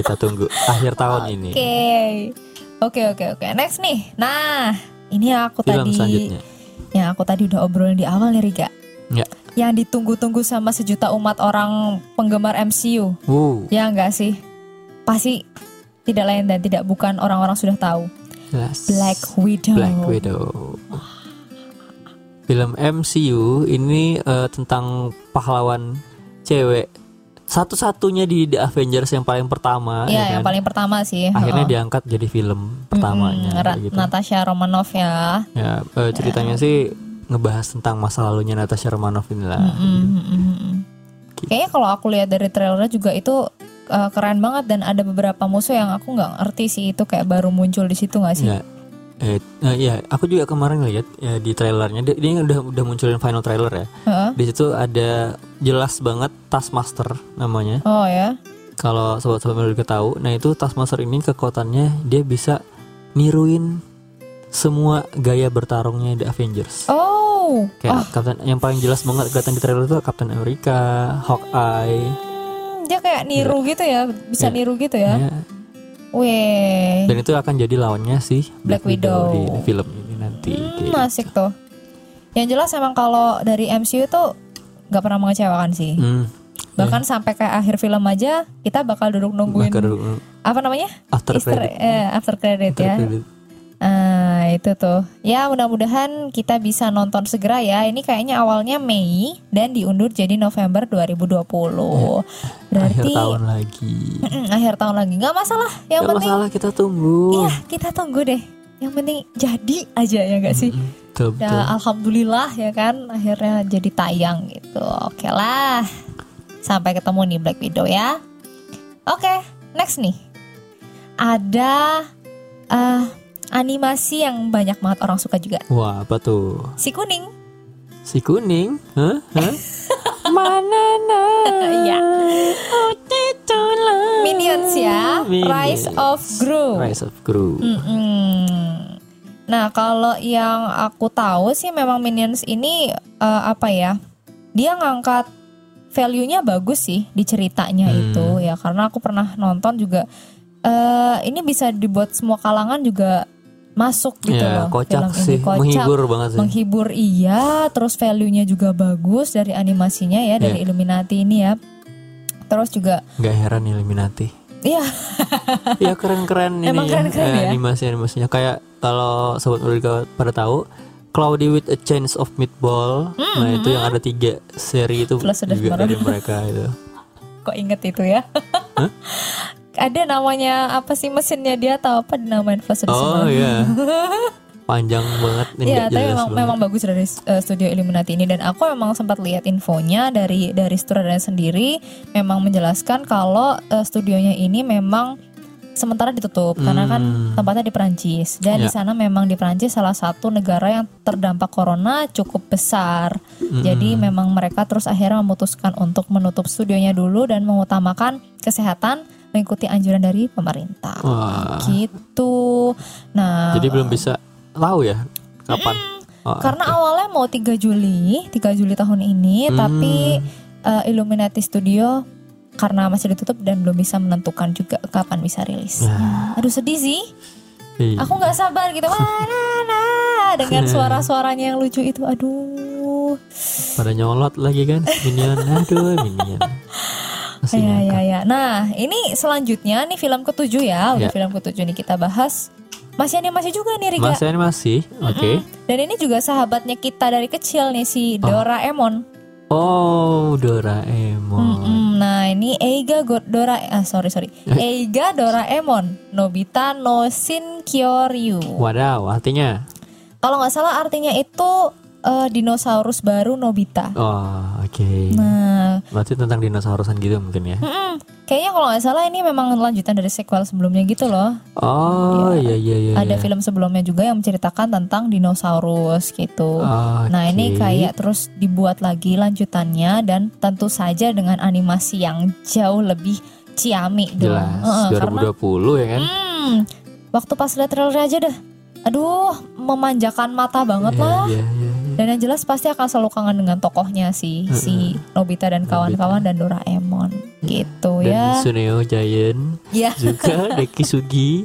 [SPEAKER 4] Kita tunggu akhir tahun ini.
[SPEAKER 1] <laughs> Oke, oke, oke, oke. Next nih. Nah, ini yang aku
[SPEAKER 4] Film
[SPEAKER 1] tadi
[SPEAKER 4] selanjutnya.
[SPEAKER 1] yang aku tadi udah obrolin di awal nih Riga.
[SPEAKER 4] Ya.
[SPEAKER 1] Yang ditunggu-tunggu sama sejuta umat orang penggemar MCU,
[SPEAKER 4] Wow,
[SPEAKER 1] ya enggak sih? Pasti tidak lain dan tidak bukan orang-orang sudah tahu.
[SPEAKER 4] jelas.
[SPEAKER 1] Black Widow.
[SPEAKER 4] Black Widow. Film MCU ini eh, tentang pahlawan cewek satu-satunya di The Avengers yang paling pertama,
[SPEAKER 1] Iya,
[SPEAKER 4] ya
[SPEAKER 1] yang
[SPEAKER 4] kan?
[SPEAKER 1] paling pertama sih.
[SPEAKER 4] akhirnya
[SPEAKER 1] Heeh.
[SPEAKER 4] diangkat jadi film pertamanya.
[SPEAKER 1] Mm-mm, Ra-
[SPEAKER 4] kayak gitu.
[SPEAKER 1] Natasha Romanoff ya.
[SPEAKER 4] Ya, eh, ceritanya sih ngebahas tentang masa lalunya Natasha Romanoff inilah.
[SPEAKER 1] Mm, mm, mm, mm.
[SPEAKER 4] Gitu.
[SPEAKER 1] Kayaknya kalau aku lihat dari trailernya juga itu uh, keren banget dan ada beberapa musuh yang aku nggak ngerti sih itu kayak baru muncul di situ nggak sih?
[SPEAKER 4] Ya. Eh, eh, ya, aku juga kemarin lihat ya, di trailernya dia, dia udah udah munculin final trailer ya.
[SPEAKER 1] Heeh.
[SPEAKER 4] Di situ ada jelas banget Taskmaster namanya.
[SPEAKER 1] Oh ya.
[SPEAKER 4] Kalau sobat-sobat Melody tahu, nah itu Taskmaster ini kekuatannya dia bisa niruin semua gaya bertarungnya The Avengers.
[SPEAKER 1] Oh.
[SPEAKER 4] Kayak Captain- yang paling jelas banget kelihatan di trailer itu Captain America, Hawkeye,
[SPEAKER 1] Hmm, dia kayak
[SPEAKER 4] Iya.
[SPEAKER 1] niru gitu ya, bisa
[SPEAKER 4] Ya.
[SPEAKER 1] niru gitu ya.
[SPEAKER 4] ya,
[SPEAKER 1] Weh.
[SPEAKER 4] dan itu akan jadi lawannya si Black,
[SPEAKER 1] Black
[SPEAKER 4] Widow,
[SPEAKER 1] Widow.
[SPEAKER 4] di film ini nanti
[SPEAKER 1] Hmm,
[SPEAKER 4] Kayak gitu.
[SPEAKER 1] asik tuh. Yang jelas emang kalau dari MCU tuh nggak pernah mengecewakan sih.
[SPEAKER 4] Hmm.
[SPEAKER 1] Bahkan sampai ke akhir film aja kita bakal duduk nungguin
[SPEAKER 4] Maka dulu
[SPEAKER 1] apa namanya?
[SPEAKER 4] after
[SPEAKER 1] Easter-
[SPEAKER 4] credit.
[SPEAKER 1] eh, after credit
[SPEAKER 4] After
[SPEAKER 1] ya.
[SPEAKER 4] credit.
[SPEAKER 1] Ah, itu tuh. Ya, mudah-mudahan kita bisa nonton segera ya. Ini kayaknya awalnya Mei dan diundur jadi November 2020.
[SPEAKER 4] Iya, Akhir
[SPEAKER 1] Berarti
[SPEAKER 4] tahun lagi.
[SPEAKER 1] Mm, akhir tahun lagi. nggak masalah. Yang
[SPEAKER 4] Gak
[SPEAKER 1] penting
[SPEAKER 4] masalah kita tunggu.
[SPEAKER 1] iya, kita tunggu deh. Yang penting jadi aja ya nggak sih?
[SPEAKER 4] Betul,
[SPEAKER 1] Ya,
[SPEAKER 4] betul.
[SPEAKER 1] alhamdulillah ya kan akhirnya jadi tayang gitu. Oke lah. Sampai ketemu nih Black Widow ya. Oke, next nih. Ada eh animasi yang banyak banget orang suka juga.
[SPEAKER 4] Wah apa tuh?
[SPEAKER 1] Si kuning.
[SPEAKER 4] Si kuning? Hah?
[SPEAKER 1] <laughs>
[SPEAKER 4] Hah? Mana na?
[SPEAKER 1] Iya. Minions ya.
[SPEAKER 4] Minions.
[SPEAKER 1] Rise of Gru. Hmm,
[SPEAKER 4] Rise of Gru.
[SPEAKER 1] Mm-mm. Nah, kalau yang aku tahu sih memang Minions ini eh, apa ya? Dia ngangkat value-nya bagus sih di ceritanya
[SPEAKER 4] Hmm.
[SPEAKER 1] itu ya karena aku pernah nonton juga eh ini bisa dibuat semua kalangan juga masuk gitu
[SPEAKER 4] ya,
[SPEAKER 1] loh.
[SPEAKER 4] kocak
[SPEAKER 1] film
[SPEAKER 4] sih,
[SPEAKER 1] ini kocak,
[SPEAKER 4] menghibur banget sih.
[SPEAKER 1] menghibur iya, terus value-nya juga bagus dari animasinya ya dari Illuminati ini ya. Terus juga
[SPEAKER 4] Gak heran Illuminati.
[SPEAKER 1] Iya.
[SPEAKER 4] ya keren-keren ini.
[SPEAKER 1] Emang keren-keren ya?
[SPEAKER 4] Animasi animasinya kayak kalau sobat Ulrika pada tahu Cloudy with a Chance of Meatball. Nah itu yang ada tiga seri itu
[SPEAKER 1] Hmm. Plus sudah
[SPEAKER 4] juga
[SPEAKER 1] kemarin.
[SPEAKER 4] dari mereka
[SPEAKER 1] <laughs>
[SPEAKER 4] itu.
[SPEAKER 1] kok inget itu ya <laughs> ada namanya apa sih mesinnya dia atau apa dinamain flash disk
[SPEAKER 4] Oh
[SPEAKER 1] sebenarnya? <laughs>
[SPEAKER 4] iya. Panjang banget ini
[SPEAKER 1] Iya,
[SPEAKER 4] nggak
[SPEAKER 1] tapi
[SPEAKER 4] jelas
[SPEAKER 1] memang,
[SPEAKER 4] banget.
[SPEAKER 1] memang bagus dari eh, studio Illuminati ini dan aku memang sempat lihat infonya dari dari sutradaranya sendiri memang menjelaskan kalau eh, studionya ini memang sementara ditutup karena kan
[SPEAKER 4] Hmm.
[SPEAKER 1] tempatnya di Perancis dan di
[SPEAKER 4] Ya.
[SPEAKER 1] sana memang di Perancis salah satu negara yang terdampak corona cukup besar.
[SPEAKER 4] Mm-mm.
[SPEAKER 1] Jadi memang mereka terus akhirnya memutuskan untuk menutup studionya dulu dan mengutamakan kesehatan mengikuti anjuran dari pemerintah.
[SPEAKER 4] Wah.
[SPEAKER 1] Gitu. Nah,
[SPEAKER 4] Jadi belum bisa tahu ya kapan. Oh,
[SPEAKER 1] karena awalnya mau 3 Juli, 3 Juli tahun ini,
[SPEAKER 4] Hmm.
[SPEAKER 1] tapi eh, Illuminati Studio karena masih ditutup dan belum bisa menentukan juga kapan bisa rilis.
[SPEAKER 4] Ya.
[SPEAKER 1] Aduh sedih sih,
[SPEAKER 4] iya.
[SPEAKER 1] aku nggak sabar gitu. Wah, nah, nah, dengan
[SPEAKER 4] <laughs>
[SPEAKER 1] suara-suaranya yang lucu itu, aduh.
[SPEAKER 4] pada nyolot lagi kan minion. Aduh minion.
[SPEAKER 1] Ya,
[SPEAKER 4] Masih
[SPEAKER 1] ya,
[SPEAKER 4] ngakak.
[SPEAKER 1] ya. Nah, ini selanjutnya nih film ketujuh ya, udah
[SPEAKER 4] Ya.
[SPEAKER 1] film ketujuh nih kita bahas. Masih animasi juga nih Riga.
[SPEAKER 4] Mas ini masih, oke.
[SPEAKER 1] Dan ini juga sahabatnya kita dari kecil nih si Doraemon.
[SPEAKER 4] Oh, Doraemon.
[SPEAKER 1] Mm-mm. Nah ini Eiga Go- Dora ah sorry sorry
[SPEAKER 4] Ya.
[SPEAKER 1] Eiga Doraemon Nobita no Shinkoryu.
[SPEAKER 4] Wadaw, artinya
[SPEAKER 1] Kalau nggak salah artinya itu eh, dinosaurus baru Nobita.
[SPEAKER 4] Oh, oke.
[SPEAKER 1] Nah
[SPEAKER 4] Berarti tentang dinosaurusan gitu mungkin ya.
[SPEAKER 1] mm-mm. kayaknya kalau nggak salah ini memang lanjutan dari sequel sebelumnya gitu loh.
[SPEAKER 4] Oh, iya iya iya.
[SPEAKER 1] Ada
[SPEAKER 4] iya.
[SPEAKER 1] film sebelumnya juga yang menceritakan tentang dinosaurus gitu.
[SPEAKER 4] Ah, Oh, Oke.
[SPEAKER 1] Nah ini kayak terus dibuat lagi lanjutannya dan tentu saja dengan animasi yang jauh lebih ciamik dong.
[SPEAKER 4] jelas
[SPEAKER 1] gitu. Heeh, karena
[SPEAKER 4] 2020 ya kan?
[SPEAKER 1] Hmm, waktu pas lihat trailer aja dah. Aduh, memanjakan mata banget
[SPEAKER 4] Iya,
[SPEAKER 1] lah.
[SPEAKER 4] Iya iya. iya.
[SPEAKER 1] Dan yang jelas pasti akan selalu kangen dengan tokohnya sih, si Nobita dan kawan-kawan dan Doraemon gitu
[SPEAKER 4] Iya.
[SPEAKER 1] ya.
[SPEAKER 4] Dan Suneo Giant
[SPEAKER 1] <laughs> Ya,
[SPEAKER 4] juga Deki Sugi.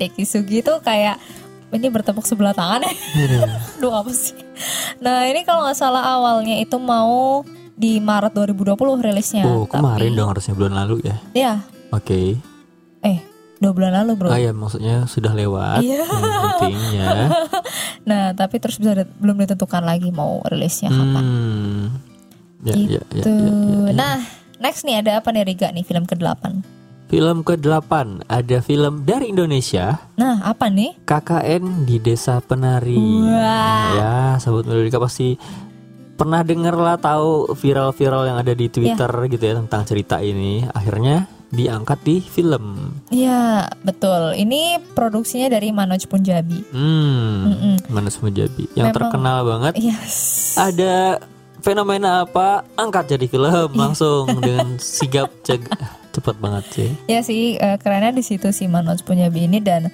[SPEAKER 1] Deki Sugi tuh kayak ini bertepuk sebelah tangan ya.
[SPEAKER 4] Aduh.
[SPEAKER 1] <laughs> Aduh, apa sih? Nah, ini kalau nggak salah awalnya itu mau di Maret 2020 rilisnya.
[SPEAKER 4] oh, kemarin
[SPEAKER 1] Ya, Tapi-
[SPEAKER 4] dong harusnya bulan lalu ya.
[SPEAKER 1] Iya, eh,
[SPEAKER 4] Oke.
[SPEAKER 1] dua bulan lalu, Bro.
[SPEAKER 4] Ah ya, maksudnya sudah lewat.
[SPEAKER 1] Iya.
[SPEAKER 4] Yang penting ya.
[SPEAKER 1] <laughs> Nah, tapi terus bisa belum ditentukan lagi mau rilisnya kapan.
[SPEAKER 4] Hmm. Ya, ya, ya,
[SPEAKER 1] Tuh.
[SPEAKER 4] ya, ya, ya.
[SPEAKER 1] Nah, next nih ada apa nih Riga nih film ke-8.
[SPEAKER 4] Film ke-8 ada film dari Indonesia
[SPEAKER 1] Nah, apa nih?
[SPEAKER 4] KKN di Desa Penari.
[SPEAKER 1] Wah.
[SPEAKER 4] Ya, sahabat Melodika pasti pernah denger lah tahu viral-viral yang ada di
[SPEAKER 1] Iya.
[SPEAKER 4] Twitter gitu ya tentang cerita ini. Akhirnya diangkat di film.
[SPEAKER 1] Ya, betul. Ini produksinya dari Manoj Punjabi.
[SPEAKER 4] Hmm.
[SPEAKER 1] Mm-mm.
[SPEAKER 4] Manus Mujabi yang
[SPEAKER 1] Memang-
[SPEAKER 4] terkenal banget.
[SPEAKER 1] Yes.
[SPEAKER 4] Ada fenomena apa? Angkat jadi film
[SPEAKER 1] Iya.
[SPEAKER 4] langsung
[SPEAKER 1] <laughs>
[SPEAKER 4] dengan sigap ceg cepat banget sih.
[SPEAKER 1] Ya sih, eh, kerennya di situ sih Manoj Punjabi ini dan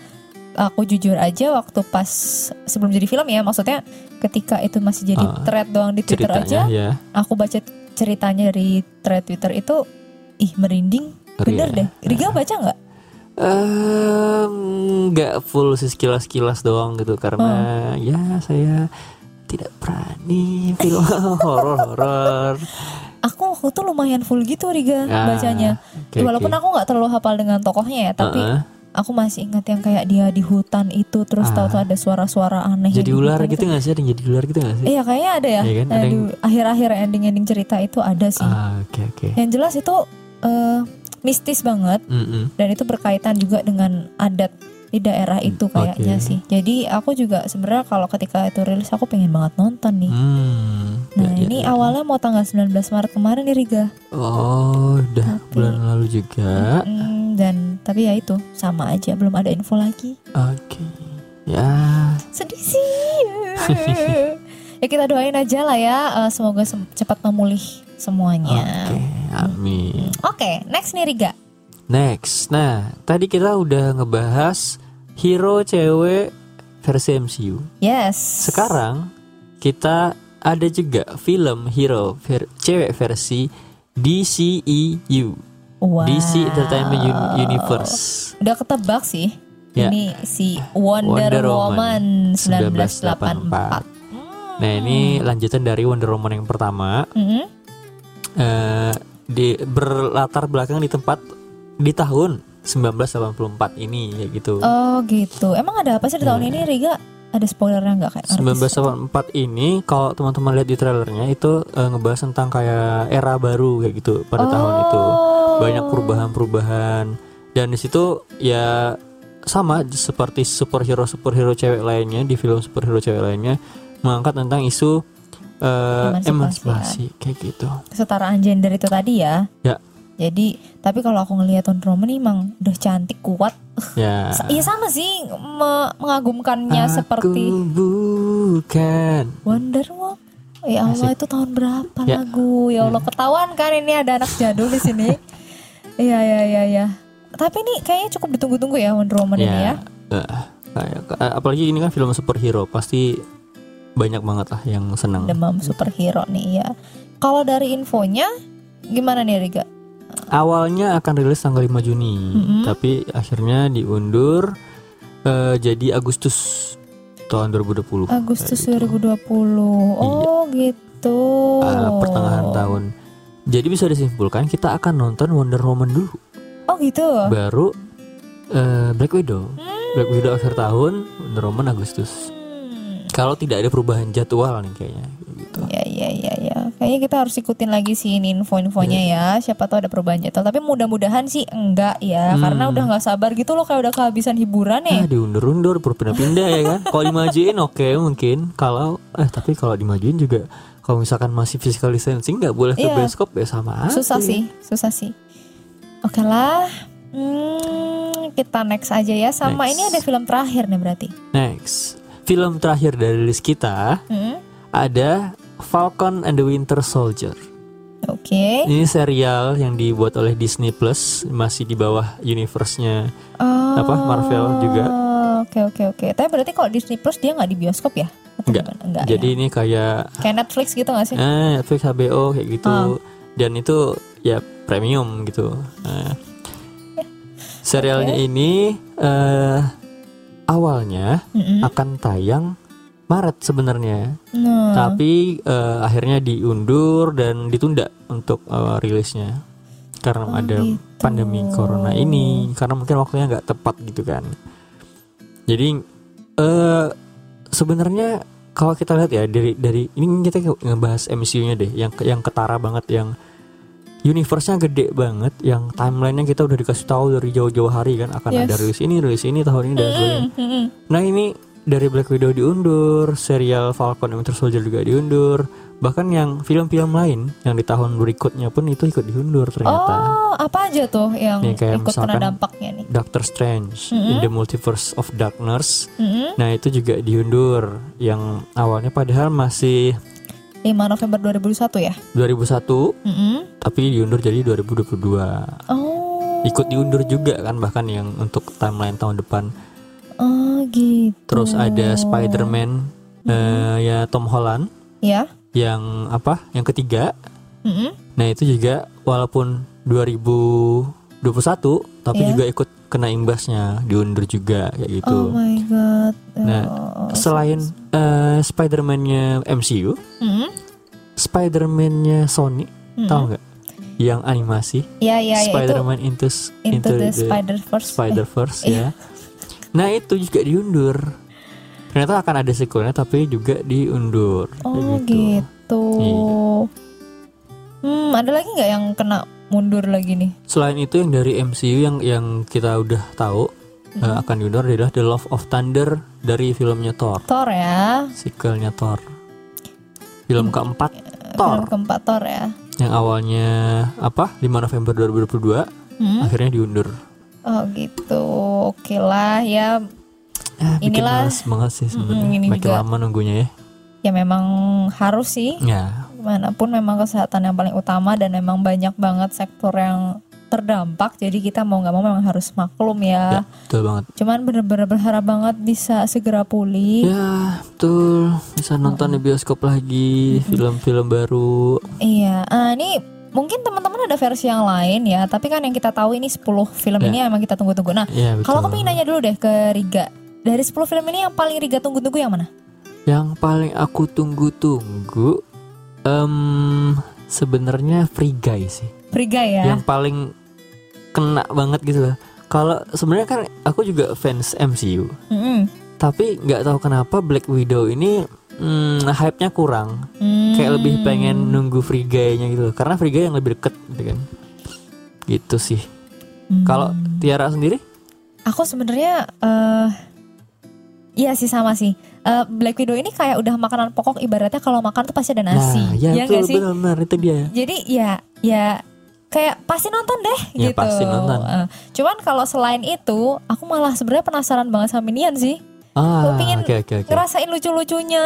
[SPEAKER 1] aku jujur aja waktu pas sebelum jadi film ya, maksudnya ketika itu masih jadi
[SPEAKER 4] Ah,
[SPEAKER 1] thread doang di Twitter aja,
[SPEAKER 4] Ceritanya ya.
[SPEAKER 1] aku baca ceritanya dari thread Twitter itu ih merinding. Bener
[SPEAKER 4] Iya.
[SPEAKER 1] deh. Riga baca nggak? Oh.
[SPEAKER 4] Em, nggak full sih sekilas-kilas doang gitu karena ya saya tidak berani film <laughs> horor-horor.
[SPEAKER 1] Aku waktu itu lumayan full gitu Riga
[SPEAKER 4] Ah,
[SPEAKER 1] <laughs> bacanya. Ya,
[SPEAKER 4] oke,
[SPEAKER 1] Walaupun
[SPEAKER 4] oke.
[SPEAKER 1] aku nggak terlalu hafal dengan tokohnya ya, tapi
[SPEAKER 4] Heeh.
[SPEAKER 1] aku masih ingat yang kayak dia di hutan itu terus
[SPEAKER 4] Ah.
[SPEAKER 1] tahu-tahu ada suara-suara aneh. yang di
[SPEAKER 4] jadi ular
[SPEAKER 1] hutan
[SPEAKER 4] gitu nggak sih? Ada yang jadi ular gitu nggak sih?
[SPEAKER 1] Iya kayaknya ada ya.
[SPEAKER 4] Iya kan, ada
[SPEAKER 1] Nah, di
[SPEAKER 4] yang-
[SPEAKER 1] akhir-akhir ending-ending cerita itu ada sih. Iya.
[SPEAKER 4] Ah, Oke oke.
[SPEAKER 1] Yang jelas itu eh, mistis banget
[SPEAKER 4] Mm-mm.
[SPEAKER 1] dan itu berkaitan juga dengan adat di daerah itu kayaknya
[SPEAKER 4] Hmm, oke.
[SPEAKER 1] sih. Jadi aku juga sebenarnya kalau ketika itu rilis aku pengen banget nonton nih.
[SPEAKER 4] Hmm.
[SPEAKER 1] Nah,
[SPEAKER 4] Ya, ya,
[SPEAKER 1] ini
[SPEAKER 4] ya.
[SPEAKER 1] awalnya mau tanggal 19 Maret kemarin nih Riga.
[SPEAKER 4] Oh, udah
[SPEAKER 1] Tapi-
[SPEAKER 4] bulan lalu juga.
[SPEAKER 1] Hmm, dan tapi ya itu sama aja belum ada info lagi.
[SPEAKER 4] Oke. Ya.
[SPEAKER 1] Sedih sih.
[SPEAKER 4] <laughs>
[SPEAKER 1] ya kita doain aja lah ya eh, semoga sem- cepat memulih
[SPEAKER 4] Oke.
[SPEAKER 1] semuanya.
[SPEAKER 4] Amin.
[SPEAKER 1] Oke, next nih Riga.
[SPEAKER 4] Next. Nah, tadi kita udah ngebahas hero cewek versi MCU.
[SPEAKER 1] Yes.
[SPEAKER 4] Sekarang kita ada juga film hero ver- cewek versi E DCEU.
[SPEAKER 1] Wow.
[SPEAKER 4] DC Entertainment Un- Universe.
[SPEAKER 1] Udah ketebak sih.
[SPEAKER 4] Ya.
[SPEAKER 1] Ini si Wonder,
[SPEAKER 4] Wonder
[SPEAKER 1] Woman
[SPEAKER 4] Woman
[SPEAKER 1] 1984.
[SPEAKER 4] 1984. Nah, ini lanjutan dari Wonder Woman yang pertama.
[SPEAKER 1] Mhm.
[SPEAKER 4] eh di berlatar belakang di tempat di tahun 1984 ini ya gitu.
[SPEAKER 1] Oh gitu. Emang ada apa sih di tahun
[SPEAKER 4] Iya.
[SPEAKER 1] ini Riga? Ada spoilernya nggak kayak artis?
[SPEAKER 4] 1984 ini kalau teman-teman lihat di trailernya itu eh, ngebahas tentang kayak era baru kayak gitu pada
[SPEAKER 1] Oh.
[SPEAKER 4] tahun itu. Banyak perubahan-perubahan dan di situ ya sama seperti superhero-superhero cewek lainnya di film superhero cewek lainnya mengangkat tentang isu eh,
[SPEAKER 1] Emansipasi, ya.
[SPEAKER 4] emansipasi kayak gitu.
[SPEAKER 1] Kesetaraan gender itu tadi ya.
[SPEAKER 4] Ya.
[SPEAKER 1] Jadi tapi kalau aku ngelihat Wonder Woman ini emang udah cantik kuat.
[SPEAKER 4] Ya.
[SPEAKER 1] Sa- Ya sama sih me- mengagumkannya
[SPEAKER 4] Aku
[SPEAKER 1] seperti
[SPEAKER 4] bukan
[SPEAKER 1] Wonder Woman. Ya Allah itu tahun berapa
[SPEAKER 4] Ya.
[SPEAKER 1] lagu? Ya Allah ketahuan kan ini ada anak jadul di sini.
[SPEAKER 4] <laughs>
[SPEAKER 1] Iya iya iya iya. Tapi ini kayaknya cukup ditunggu-tunggu ya Wonder Woman ini ya.
[SPEAKER 4] eh, kayak- eh, apalagi ini kan film superhero pasti banyak banget lah yang senang
[SPEAKER 1] Demam superhero nih ya. Kalau dari infonya gimana nih Riga?
[SPEAKER 4] awalnya akan rilis tanggal 5 Juni
[SPEAKER 1] Mm-mm.
[SPEAKER 4] tapi akhirnya diundur eh, jadi Agustus tahun 2020
[SPEAKER 1] Agustus
[SPEAKER 4] Kayak gitu.
[SPEAKER 1] 2020. Oh gitu.
[SPEAKER 4] Eh, Iya. pertengahan tahun jadi bisa disimpulkan kita akan nonton Wonder Woman dulu
[SPEAKER 1] Oh Hmm. gitu.
[SPEAKER 4] baru eh, Black Widow Black Widow akhir tahun Wonder Woman Agustus
[SPEAKER 1] Hmm.
[SPEAKER 4] Kalau tidak ada perubahan jadwal nih kayaknya gitu.
[SPEAKER 1] Ya ya ya ya. Kayaknya kita harus ikutin lagi sih ini
[SPEAKER 4] Iya,
[SPEAKER 1] info-infonya ya. Siapa tahu ada perubahan jadwal. Tapi mudah-mudahan sih enggak ya.
[SPEAKER 4] Hmm.
[SPEAKER 1] Karena udah nggak sabar gitu loh kayak udah kehabisan hiburan ya.
[SPEAKER 4] Ah, diundur-undur, berpindah-pindah ya kan. Kalau dimajuin oke mungkin. Kalau eh tapi kalau dimajuin juga kalau misalkan masih physical distancing nggak boleh ke
[SPEAKER 1] Iya.
[SPEAKER 4] bioskop ya sama. aja.
[SPEAKER 1] Susah sih, susah sih. Oke lah. Hmm, kita next aja ya. Sama
[SPEAKER 4] Next.
[SPEAKER 1] ini ada film terakhir nih berarti.
[SPEAKER 4] Next, film terakhir dari list kita
[SPEAKER 1] Hmm,
[SPEAKER 4] ada Falcon and the Winter Soldier.
[SPEAKER 1] Oke.
[SPEAKER 4] Ini serial yang dibuat oleh Disney Plus masih di bawah universe-nya.
[SPEAKER 1] Oh,
[SPEAKER 4] Apa, Marvel juga.
[SPEAKER 1] Oke oke oke. Tapi berarti kalau Disney Plus dia nggak di bioskop ya? Atau
[SPEAKER 4] Nggak.
[SPEAKER 1] gimana? Nggak
[SPEAKER 4] Jadi
[SPEAKER 1] ya?
[SPEAKER 4] ini kayak
[SPEAKER 1] kayak Netflix gitu nggak sih?
[SPEAKER 4] Eh, Netflix HBO kayak gitu.
[SPEAKER 1] Ah.
[SPEAKER 4] Dan itu ya premium gitu. Nah, serialnya ini eh awalnya
[SPEAKER 1] Mm-mm.
[SPEAKER 4] akan tayang Maret sebenarnya,
[SPEAKER 1] Nah.
[SPEAKER 4] tapi eh, akhirnya diundur dan ditunda untuk eh, rilisnya karena
[SPEAKER 1] Oh,
[SPEAKER 4] ada
[SPEAKER 1] gitu.
[SPEAKER 4] pandemi corona ini. Karena mungkin waktunya nggak tepat gitu kan. Jadi eh sebenarnya kalau kita lihat ya dari dari ini kita nge- ngebahas MCU-nya deh yang ke- yang ketara banget yang universe-nya gede banget yang timeline-nya kita udah dikasih tahu dari jauh-jauh hari kan akan
[SPEAKER 1] Yes.
[SPEAKER 4] ada rilis ini rilis ini tahun ini dan sebagainya.
[SPEAKER 1] Mm, mm, mm.
[SPEAKER 4] Nah ini dari Black Widow diundur, serial Falcon and Winter Soldier juga diundur, bahkan yang film-film lain yang di tahun berikutnya pun itu ikut diundur ternyata.
[SPEAKER 1] Oh, apa aja tuh yang
[SPEAKER 4] Nih, kayak
[SPEAKER 1] ikut kena
[SPEAKER 4] misalkan-
[SPEAKER 1] dampaknya nih?
[SPEAKER 4] Doctor Strange in
[SPEAKER 1] Mm-mm.
[SPEAKER 4] the Multiverse of Darkness,
[SPEAKER 1] Mm-mm.
[SPEAKER 4] nah itu juga diundur yang awalnya padahal masih
[SPEAKER 1] 5 November 2021 ya?
[SPEAKER 4] 2001
[SPEAKER 1] Mm-mm.
[SPEAKER 4] tapi diundur jadi 2022.
[SPEAKER 1] Oh.
[SPEAKER 4] Ikut diundur juga kan bahkan yang untuk timeline tahun depan.
[SPEAKER 1] Oh, gitu.
[SPEAKER 4] Terus ada Spider-Man eh, ya Tom Holland
[SPEAKER 1] Ya.
[SPEAKER 4] yang apa? Yang ketiga
[SPEAKER 1] Mm-mm.
[SPEAKER 4] Nah itu juga walaupun 2021 tapi
[SPEAKER 1] Iya.
[SPEAKER 4] juga ikut kena imbasnya diundur juga kayak gitu.
[SPEAKER 1] Oh my god.
[SPEAKER 4] Nah,
[SPEAKER 1] Oh.
[SPEAKER 4] Selain eh, Spider-Man-nya MCU,
[SPEAKER 1] Mm-mm.
[SPEAKER 4] Spider-Man-nya Sony,
[SPEAKER 1] Mm-mm.
[SPEAKER 4] tahu nggak? Yang animasi
[SPEAKER 1] Ya ya ya itu
[SPEAKER 4] Spider-Man into s-
[SPEAKER 1] Into the Spider-Verse.
[SPEAKER 4] Spider-Verse
[SPEAKER 1] Eh,
[SPEAKER 4] ya. Nah, itu juga diundur. Ternyata akan ada sequelnya tapi juga diundur. kayak
[SPEAKER 1] Oh gitu.
[SPEAKER 4] Iya.
[SPEAKER 1] Hmm, ada lagi nggak yang kena mundur lagi nih?
[SPEAKER 4] Selain itu yang dari MCU yang yang kita udah tahu
[SPEAKER 1] Mhm.
[SPEAKER 4] eh, akan diundur adalah The Love of Thunder dari filmnya Thor,
[SPEAKER 1] Thor ya.
[SPEAKER 4] sequelnya Thor.
[SPEAKER 1] Iya.
[SPEAKER 4] Film keempat
[SPEAKER 1] Film
[SPEAKER 4] Thor
[SPEAKER 1] keempat Thor ya.
[SPEAKER 4] yang awalnya apa 5 November 2022
[SPEAKER 1] Hmm?
[SPEAKER 4] akhirnya diundur.
[SPEAKER 1] Oh gitu. Oke lah ya.
[SPEAKER 4] Ah, bikin
[SPEAKER 1] Inilah-
[SPEAKER 4] males banget sih sebenarnya.
[SPEAKER 1] Mm-mm, ini
[SPEAKER 4] Makin
[SPEAKER 1] juga.
[SPEAKER 4] lama nunggunya ya.
[SPEAKER 1] Ya memang harus sih.
[SPEAKER 4] Ya,
[SPEAKER 1] Manapun memang kesehatan yang paling utama dan memang banyak banget sektor yang terdampak. Jadi kita mau nggak mau memang harus maklum ya.
[SPEAKER 4] ya, betul banget.
[SPEAKER 1] Cuman bener-bener berharap banget bisa segera pulih.
[SPEAKER 4] Ya, betul. Bisa nonton di bioskop
[SPEAKER 1] Hmm.
[SPEAKER 4] lagi film-film baru.
[SPEAKER 1] Iya. Ah, ini mungkin teman-teman ada versi yang lain ya. Tapi kan yang kita tahu ini 10 film
[SPEAKER 4] Ya.
[SPEAKER 1] ini emang kita tunggu-tunggu. Nah,
[SPEAKER 4] Ya, betul.
[SPEAKER 1] Kalau aku pengen nanya dulu deh ke Riga Dari 10 film ini yang paling Riga tunggu-tunggu yang mana?
[SPEAKER 4] Yang paling aku tunggu-tunggu em sebenarnya Free Guy sih.
[SPEAKER 1] Riga ya?
[SPEAKER 4] Yang paling kena banget gitu loh. Kalau sebenarnya kan aku juga fans MCU,
[SPEAKER 1] Mm-mm.
[SPEAKER 4] tapi nggak tahu kenapa Black Widow ini hmm, hype-nya kurang.
[SPEAKER 1] Hmm.
[SPEAKER 4] Kayak lebih pengen nunggu Free Guy-nya gitu loh. Karena Free Guy yang lebih deket gitu kan. Gitu sih.
[SPEAKER 1] Hmm.
[SPEAKER 4] Kalau Tiara sendiri?
[SPEAKER 1] Aku sebenarnya eh Iya sih sama sih Eh, Black Widow ini kayak udah makanan pokok Ibaratnya kalau makan tuh pasti ada nasi
[SPEAKER 4] Nah, ya,
[SPEAKER 1] Iya
[SPEAKER 4] betul,
[SPEAKER 1] nggak sih?
[SPEAKER 4] benar itu dia.
[SPEAKER 1] Jadi ya ya kayak pasti nonton deh
[SPEAKER 4] Ya,
[SPEAKER 1] gitu.
[SPEAKER 4] pasti nonton.
[SPEAKER 1] Eh, cuman kalau selain itu, aku malah sebenarnya penasaran banget sama Minion sih.
[SPEAKER 4] Ah,
[SPEAKER 1] Aku pingin
[SPEAKER 4] oke oke oke. Ya.
[SPEAKER 1] Ngerasain lucu-lucunya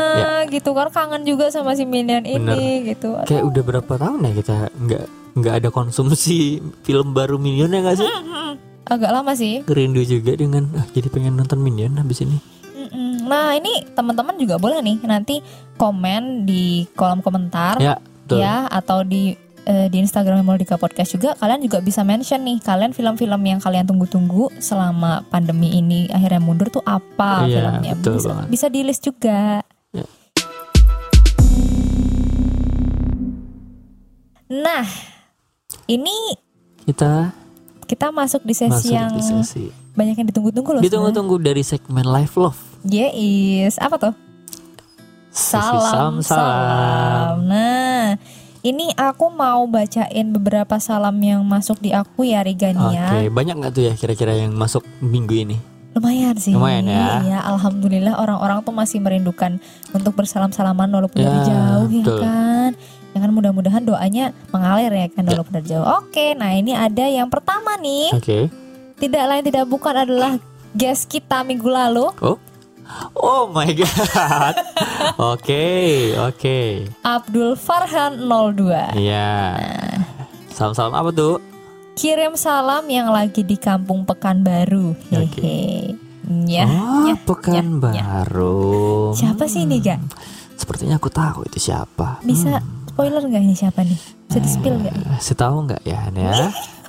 [SPEAKER 1] gitu kan kangen juga sama si Minion ini
[SPEAKER 4] Bener.
[SPEAKER 1] gitu. Aduh.
[SPEAKER 4] Kayak udah berapa tahun ya kita nggak nggak ada konsumsi <laughs> film baru Minion ya nggak sih?
[SPEAKER 1] agak lama sih.
[SPEAKER 4] Rindu juga dengan ah, jadi pengen nonton Minion habis ini.
[SPEAKER 1] Mm-mm. Nah ini teman-teman juga boleh nih nanti komen di kolom komentar
[SPEAKER 4] Ya, betul.
[SPEAKER 1] ya atau di eh, di Instagram Melodika Podcast juga kalian juga bisa mention nih kalian film-film yang kalian tunggu-tunggu selama pandemi ini akhirnya mundur tuh apa
[SPEAKER 4] Iya,
[SPEAKER 1] filmnya
[SPEAKER 4] betul
[SPEAKER 1] bisa,
[SPEAKER 4] banget.
[SPEAKER 1] bisa di list juga.
[SPEAKER 4] Ya.
[SPEAKER 1] Nah ini
[SPEAKER 4] Kita
[SPEAKER 1] kita masuk di
[SPEAKER 4] masuk
[SPEAKER 1] sesi yang
[SPEAKER 4] di sesi.
[SPEAKER 1] banyak yang ditunggu-tunggu loh. sebenarnya.
[SPEAKER 4] Ditunggu-tunggu dari segmen Live Love.
[SPEAKER 1] Yes, apa tuh?
[SPEAKER 4] Sesi
[SPEAKER 1] Salam, salam. Nah, ini aku mau bacain beberapa salam yang masuk di aku ya
[SPEAKER 4] Oke,
[SPEAKER 1] Rigania.
[SPEAKER 4] banyak nggak tuh ya kira-kira yang masuk minggu ini?
[SPEAKER 1] Lumayan sih. Iya,
[SPEAKER 4] Lumayan ya.
[SPEAKER 1] alhamdulillah orang-orang tuh masih merindukan untuk bersalam-salaman walaupun dari
[SPEAKER 4] Ya,
[SPEAKER 1] jauh
[SPEAKER 4] betul.
[SPEAKER 1] ya kan. Ya kan mudah-mudahan doanya mengalir ya kan walaupun dari jauh. Oke, nah ini ada yang pertama nih.
[SPEAKER 4] Oke.
[SPEAKER 1] Tidak lain tidak bukan adalah guest kita minggu lalu.
[SPEAKER 4] Oh. Oh my <laughs> god. Oke, oke.
[SPEAKER 1] Abdul Farhan 02.
[SPEAKER 4] Iya.
[SPEAKER 1] Nah.
[SPEAKER 4] Salam-salam apa tuh?
[SPEAKER 1] Kirim salam yang lagi di Kampung Pekanbaru. Hehe. Ya. ya,
[SPEAKER 4] Ah,
[SPEAKER 1] ya, ya.
[SPEAKER 4] Pekanbaru.
[SPEAKER 1] Siapa sih ini, Ga?
[SPEAKER 4] Sepertinya aku tahu itu siapa.
[SPEAKER 1] Bisa spoiler nggak ini siapa nih? Bisa di-spill nggak?
[SPEAKER 4] Hmm, Saya tahu nggak ya, Han ya?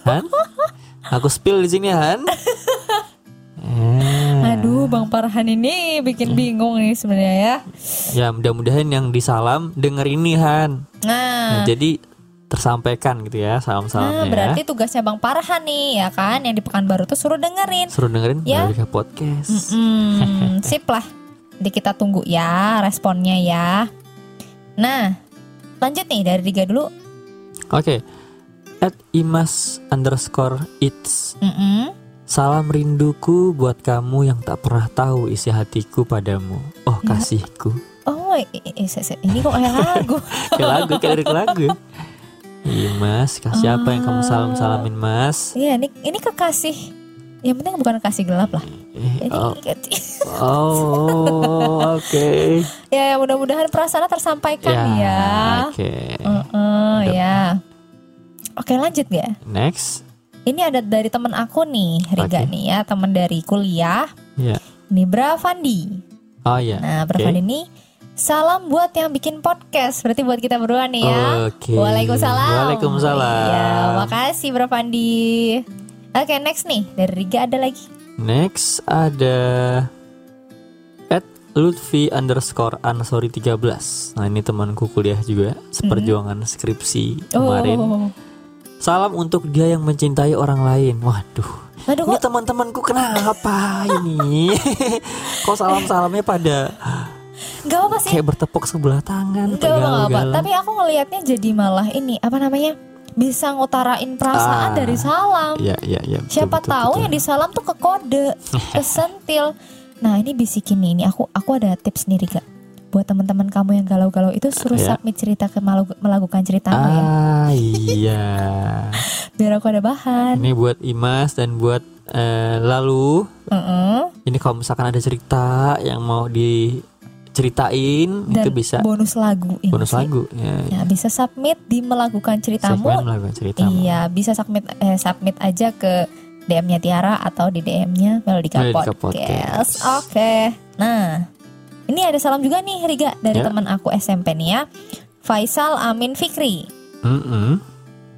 [SPEAKER 4] Han? Aku spill di sini, Han. Eh,
[SPEAKER 1] Aduh, Bang Farhan ini bikin bingung nih sebenarnya ya.
[SPEAKER 4] Ya, mudah-mudahan yang disalam denger ini, Han.
[SPEAKER 1] Nah,
[SPEAKER 4] Nah, jadi tersampaikan gitu ya
[SPEAKER 1] nah
[SPEAKER 4] salam-salamnya.
[SPEAKER 1] berarti tugasnya Bang Farhan nih ya kan yang di Pekanbaru tuh suruh dengerin.
[SPEAKER 4] Suruh dengerin
[SPEAKER 1] Ya.
[SPEAKER 4] Melodika podcast.
[SPEAKER 1] Mm, sip lah. Jadi kita tunggu ya responnya ya. Nah, lanjut nih dari Riga dulu.
[SPEAKER 4] Oke. At imas underscore it's
[SPEAKER 1] Mm-mm.
[SPEAKER 4] Salam rinduku buat kamu yang tak pernah tahu isi hatiku padamu. Oh
[SPEAKER 1] Ya.
[SPEAKER 4] kasihku.
[SPEAKER 1] Oh, i- i- i- se- se- ini kok kayak lagu.
[SPEAKER 4] Kayak lagu, kayak lirik lagu. Iya mas, kasih apa yang
[SPEAKER 1] Oh.
[SPEAKER 4] kamu salam salamin mas?
[SPEAKER 1] Iya, ini ini kekasih. Yang penting bukan kasih gelap lah. Jadi
[SPEAKER 4] Eh,
[SPEAKER 1] gitu.
[SPEAKER 4] oh, oh, oke.
[SPEAKER 1] <laughs> ya, ya, mudah-mudahan perasaan tersampaikan ya.
[SPEAKER 4] oke.
[SPEAKER 1] Heeh, ya. Oke, lanjut ya.
[SPEAKER 4] Next,
[SPEAKER 1] Ini ada dari teman aku nih, Riga
[SPEAKER 4] Oke.
[SPEAKER 1] nih ya, teman dari kuliah.
[SPEAKER 4] ya.
[SPEAKER 1] Ini Bravandi.
[SPEAKER 4] Oh ya.
[SPEAKER 1] Nah, Bravandi ini salam buat yang bikin podcast. Berarti buat kita berdua nih ya.
[SPEAKER 4] Oke.
[SPEAKER 1] Waalaikumsalam.
[SPEAKER 4] Waalaikumsalam.
[SPEAKER 1] Iya, makasih Bro Pandi. Oke next nih dari Riga ada lagi.
[SPEAKER 4] Next ada at Lutfi underscore ansori 13 Nah ini temanku kuliah juga Seperjuangan skripsi kemarin
[SPEAKER 1] Mm-hmm. Oh,
[SPEAKER 4] Salam untuk dia yang mencintai orang lain Waduh
[SPEAKER 1] aduh
[SPEAKER 4] Ini
[SPEAKER 1] kok
[SPEAKER 4] Eh, teman-temanku kenapa
[SPEAKER 1] <laughs>
[SPEAKER 4] ini Kok salam-salamnya pada Iya.
[SPEAKER 1] nggak apa sih?
[SPEAKER 4] Kayak bertepuk sebelah tangan
[SPEAKER 1] Enggak apa apa.
[SPEAKER 4] pegal-pegalan.
[SPEAKER 1] Tapi aku ngelihatnya jadi malah ini apa namanya bisa ngutarain perasaan
[SPEAKER 4] Ah.
[SPEAKER 1] dari salam.
[SPEAKER 4] Iya, iya, iya, betul,
[SPEAKER 1] Siapa
[SPEAKER 4] betul,
[SPEAKER 1] tahu
[SPEAKER 4] betul.
[SPEAKER 1] yang di salam tuh ke
[SPEAKER 4] <laughs>
[SPEAKER 1] kode, kesentil. Nah ini bisikin nih, ini aku aku ada tips nih Riga. Buat teman-teman kamu yang galau-galau itu suruh
[SPEAKER 4] Iya.
[SPEAKER 1] submit cerita ke malu- melakukan ceritamu ya.
[SPEAKER 4] Ah iya
[SPEAKER 1] Biar aku ada bahan.
[SPEAKER 4] Ini buat Imas dan buat eh, Lalu
[SPEAKER 1] Heeh.
[SPEAKER 4] Ini kalau misalkan ada cerita yang mau diceritain
[SPEAKER 1] Dan
[SPEAKER 4] itu bisa
[SPEAKER 1] bonus lagu. ya
[SPEAKER 4] bonus
[SPEAKER 1] sih?
[SPEAKER 4] lagu. Ya,
[SPEAKER 1] Ya, bisa submit di melakukan
[SPEAKER 4] segmen
[SPEAKER 1] ceritamu.
[SPEAKER 4] lagu ceritamu.
[SPEAKER 1] Iya, bisa submit eh, submit aja ke DM-nya Tiara atau di DM-nya Melodika
[SPEAKER 4] Melodika
[SPEAKER 1] Podcast.
[SPEAKER 4] Podcast.
[SPEAKER 1] Oke. Nah, ini ada salam juga nih Riga dari
[SPEAKER 4] Ya.
[SPEAKER 1] teman aku SMP nih ya. Faisal Amin Fikri.
[SPEAKER 4] Mm-mm.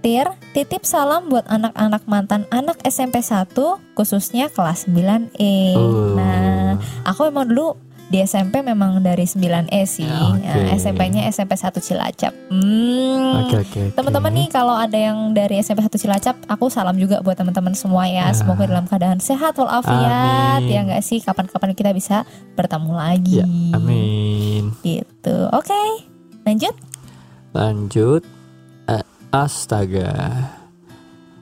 [SPEAKER 1] Tir, titip salam buat anak-anak mantan anak SMP 1 khususnya kelas 9E.
[SPEAKER 4] Oh.
[SPEAKER 1] Nah, aku emang dulu di SMP memang dari 9E sih. Nah,
[SPEAKER 4] Ya, oke.
[SPEAKER 1] SMP-nya SMP 1 Cilacap. Hmm.
[SPEAKER 4] Oke oke. oke.
[SPEAKER 1] Teman-teman nih kalau ada yang dari SMP 1 Cilacap, aku salam juga buat teman-teman semua ya.
[SPEAKER 4] Ya.
[SPEAKER 1] Semoga dalam keadaan sehat walafiat.
[SPEAKER 4] Amin.
[SPEAKER 1] Ya enggak sih kapan-kapan kita bisa bertemu lagi.
[SPEAKER 4] Ya, amin.
[SPEAKER 1] Gitu. Oke. Lanjut.
[SPEAKER 4] Lanjut. Eh, astaga.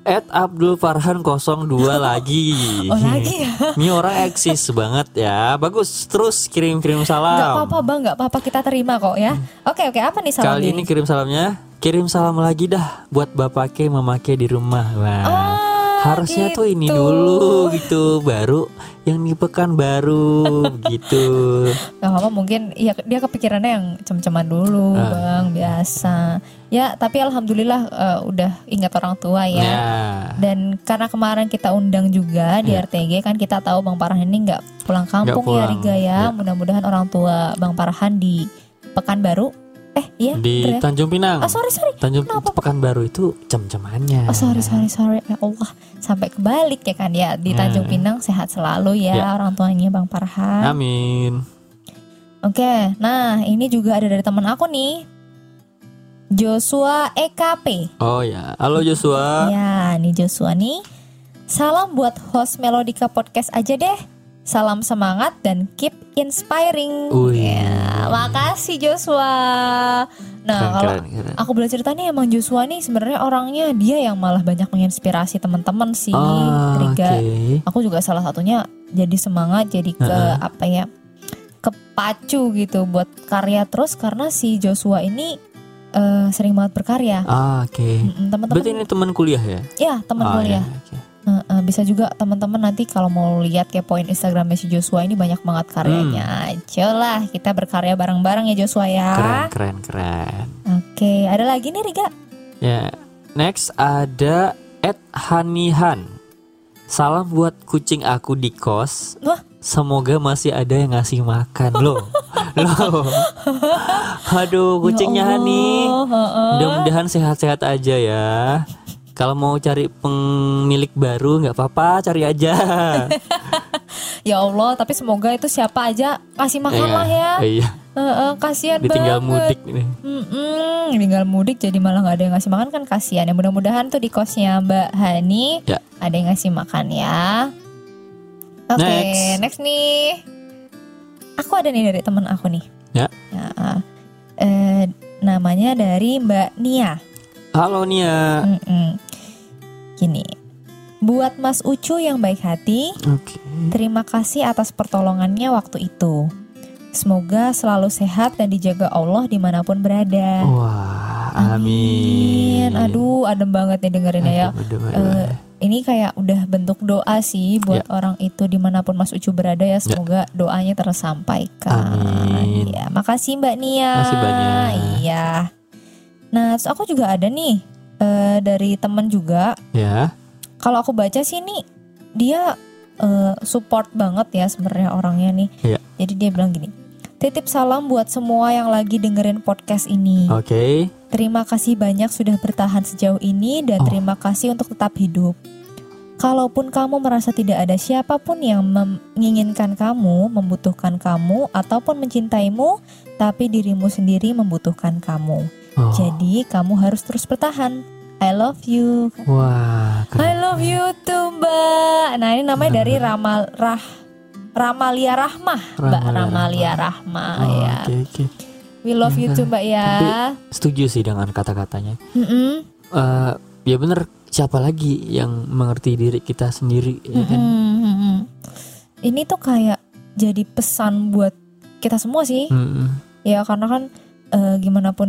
[SPEAKER 4] Ed Abdul Farhan 02
[SPEAKER 1] <laughs>
[SPEAKER 4] lagi.
[SPEAKER 1] Oh, lagi ya.
[SPEAKER 4] <laughs> Ini orang eksis banget ya. Bagus terus kirim-kirim salam.
[SPEAKER 1] Enggak apa-apa, Bang. Enggak apa-apa kita terima kok ya. Oke, oke. Apa nih salam
[SPEAKER 4] Hmm. Kali
[SPEAKER 1] dari-
[SPEAKER 4] ini kirim salamnya, kirim salam lagi dah buat bapak ke memakai di rumah. Wah.
[SPEAKER 1] Ah,
[SPEAKER 4] <laughs> Harusnya tuh ini
[SPEAKER 1] gitu.
[SPEAKER 4] dulu gitu, baru yang di pekan baru
[SPEAKER 1] <laughs>
[SPEAKER 4] gitu.
[SPEAKER 1] Gak apa-apa mungkin ya dia kepikirannya yang cem-ceman dulu
[SPEAKER 4] Ah.
[SPEAKER 1] bang biasa ya tapi alhamdulillah eh, udah ingat orang tua ya
[SPEAKER 4] Ya.
[SPEAKER 1] dan karena kemarin kita undang juga di
[SPEAKER 4] Ya.
[SPEAKER 1] RTG kan kita tahu bang Parhan ini nggak pulang kampung ya
[SPEAKER 4] pulang,
[SPEAKER 1] Riga ya
[SPEAKER 4] ya.
[SPEAKER 1] mudah-mudahan orang tua bang Parhan di Pekanbaru eh iya
[SPEAKER 4] Di
[SPEAKER 1] bener ya?
[SPEAKER 4] Tanjung Pinang.
[SPEAKER 1] Ah, sorry sorry
[SPEAKER 4] Tanjung
[SPEAKER 1] kenapa?
[SPEAKER 4] pekan baru itu cem-cemannya.
[SPEAKER 1] Oh sorry sorry sorry ya Allah sampai kebalik ya kan ya di
[SPEAKER 4] Ya.
[SPEAKER 1] Tanjung Pinang sehat selalu ya,
[SPEAKER 4] Ya.
[SPEAKER 1] orang tuanya Bang Parhan.
[SPEAKER 4] Nah. Amin.
[SPEAKER 1] Oke, nah ini juga ada dari teman aku nih. Joshua E EKP.
[SPEAKER 4] Oh ya, halo Joshua.
[SPEAKER 1] Ya, nih Joshua nih. Salam buat host Melodika Podcast aja deh. Salam semangat dan keep inspiring.
[SPEAKER 4] Wih.
[SPEAKER 1] Ya, makasih Joshua. Nah,
[SPEAKER 4] Keren,
[SPEAKER 1] kalau
[SPEAKER 4] keren, keren.
[SPEAKER 1] aku belajar tanya emang Joshua nih sebenarnya orangnya dia yang malah banyak menginspirasi teman-teman sih.
[SPEAKER 4] Ah,
[SPEAKER 1] Riga
[SPEAKER 4] Oke.
[SPEAKER 1] aku juga salah satunya jadi semangat jadi ke apa ya kepacu gitu buat karya terus karena si Joshua ini eh, sering banget berkarya
[SPEAKER 4] Ah, oke.
[SPEAKER 1] Mm-mm,
[SPEAKER 4] Berarti
[SPEAKER 1] teman-teman
[SPEAKER 4] ini teman kuliah ya?
[SPEAKER 1] ya teman
[SPEAKER 4] Ah,
[SPEAKER 1] kuliah
[SPEAKER 4] ya, oke.
[SPEAKER 1] Eh, eh, bisa juga teman-teman nanti kalau mau lihat kayak poin Instagramnya si Joshua ini banyak banget karyanya Ayolah kita berkarya bareng-bareng ya Joshua ya
[SPEAKER 4] Hmm. Keren, keren, keren.
[SPEAKER 1] oke ada lagi nih Riga
[SPEAKER 4] Ya, next ada Ed Hanihan. Salam buat kucing aku di kos.
[SPEAKER 1] Wah.
[SPEAKER 4] Semoga masih ada yang ngasih
[SPEAKER 1] <laughs>
[SPEAKER 4] makan loh. loh. Aduh, kucingnya
[SPEAKER 1] Ya Allah,
[SPEAKER 4] Hani.
[SPEAKER 1] heeh.
[SPEAKER 4] Mudah-mudahan sehat-sehat aja ya. Kalau mau cari pemilik baru nggak apa-apa, cari aja.
[SPEAKER 1] ya Allah tapi semoga itu siapa aja kasih makan
[SPEAKER 4] Iya,
[SPEAKER 1] lah ya
[SPEAKER 4] Iya,
[SPEAKER 1] Eh, eh, kasihan
[SPEAKER 4] ditinggal
[SPEAKER 1] banget.
[SPEAKER 4] mudik nih.
[SPEAKER 1] Mm-mm, tinggal mudik jadi malah nggak ada yang ngasih makan kan kasihan ya mudah-mudahan tuh di kosnya Mbak Hani
[SPEAKER 4] Ya.
[SPEAKER 1] ada yang ngasih makan ya. Oke
[SPEAKER 4] Next.
[SPEAKER 1] next nih, aku ada nih dari teman aku nih.
[SPEAKER 4] Ya.
[SPEAKER 1] Ya, eh, namanya dari Mbak Nia.
[SPEAKER 4] Halo Nia.
[SPEAKER 1] Mm-mm. Gini, buat Mas Ucu yang baik hati,
[SPEAKER 4] Oke.
[SPEAKER 1] Terima kasih atas pertolongannya waktu itu. Semoga selalu sehat dan dijaga Allah dimanapun
[SPEAKER 4] Oh.
[SPEAKER 1] berada.
[SPEAKER 4] Wah, amin.
[SPEAKER 1] Aduh, adem banget nih dengerin ya.
[SPEAKER 4] Aduh, aduh, aduh.
[SPEAKER 1] Eh, ini kayak udah bentuk doa sih
[SPEAKER 4] Ya.
[SPEAKER 1] buat orang itu dimanapun Mas Ucu berada ya. Semoga doanya tersampaikan.
[SPEAKER 4] Amin.
[SPEAKER 1] Ya, makasih Mbak Nia.
[SPEAKER 4] Makasih, Mbak Nia.
[SPEAKER 1] Iya. Nah, terus aku juga ada nih eh, dari temen juga
[SPEAKER 4] Ya.
[SPEAKER 1] kalau aku baca sih nih dia eh, support banget ya sebenarnya orangnya nih.
[SPEAKER 4] Iya.
[SPEAKER 1] Jadi dia bilang gini, titip salam buat semua yang lagi dengerin podcast ini.
[SPEAKER 4] Oh. Oke,
[SPEAKER 1] Terima kasih banyak sudah bertahan sejauh ini dan
[SPEAKER 4] Oh.
[SPEAKER 1] terima kasih untuk tetap hidup. Kalaupun kamu merasa tidak ada siapapun yang mem- menginginkan kamu, membutuhkan kamu, ataupun mencintaimu, tapi dirimu sendiri membutuhkan kamu.
[SPEAKER 4] Oh,
[SPEAKER 1] Jadi kamu harus terus bertahan. I love you. I
[SPEAKER 4] wah keren.
[SPEAKER 1] love you too, Mbak. Nah, ini namanya dari Ramal Rah Ramalia Rahmah, Mbak
[SPEAKER 4] Ramalia
[SPEAKER 1] Ramalia Rahmah
[SPEAKER 4] Oh,
[SPEAKER 1] ya.
[SPEAKER 4] oke, oke.
[SPEAKER 1] We love you too, Mbak ya.
[SPEAKER 4] Setuju sih dengan kata-katanya.
[SPEAKER 1] Mm-mm,
[SPEAKER 4] Eh, ya bener siapa lagi yang mengerti diri kita sendiri ya kan?
[SPEAKER 1] mm-mm, mm-mm. Ini tuh kayak jadi pesan buat kita semua sih.
[SPEAKER 4] Mm-mm.
[SPEAKER 1] Ya karena kan eh, gimana pun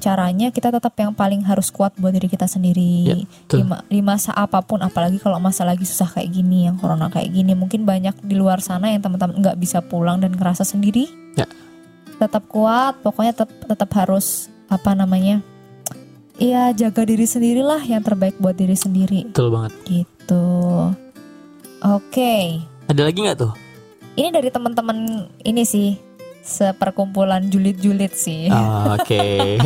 [SPEAKER 1] caranya kita tetap yang paling harus kuat buat diri kita
[SPEAKER 4] Ya,
[SPEAKER 1] sendiri
[SPEAKER 4] betul.
[SPEAKER 1] di, ma- di masa apapun apalagi kalau masa lagi susah kayak gini yang corona kayak gini mungkin banyak di luar sana yang teman-teman nggak bisa pulang dan ngerasa sendiri
[SPEAKER 4] Ya.
[SPEAKER 1] tetap kuat pokoknya tetap tetap harus apa namanya Iya jaga diri sendirilah yang terbaik buat diri sendiri
[SPEAKER 4] Betul banget.
[SPEAKER 1] gitu oke
[SPEAKER 4] Ada lagi nggak tuh?
[SPEAKER 1] ini dari teman-teman ini sih seperkumpulan julid-julid sih <laughs>
[SPEAKER 4] Ah, Oke.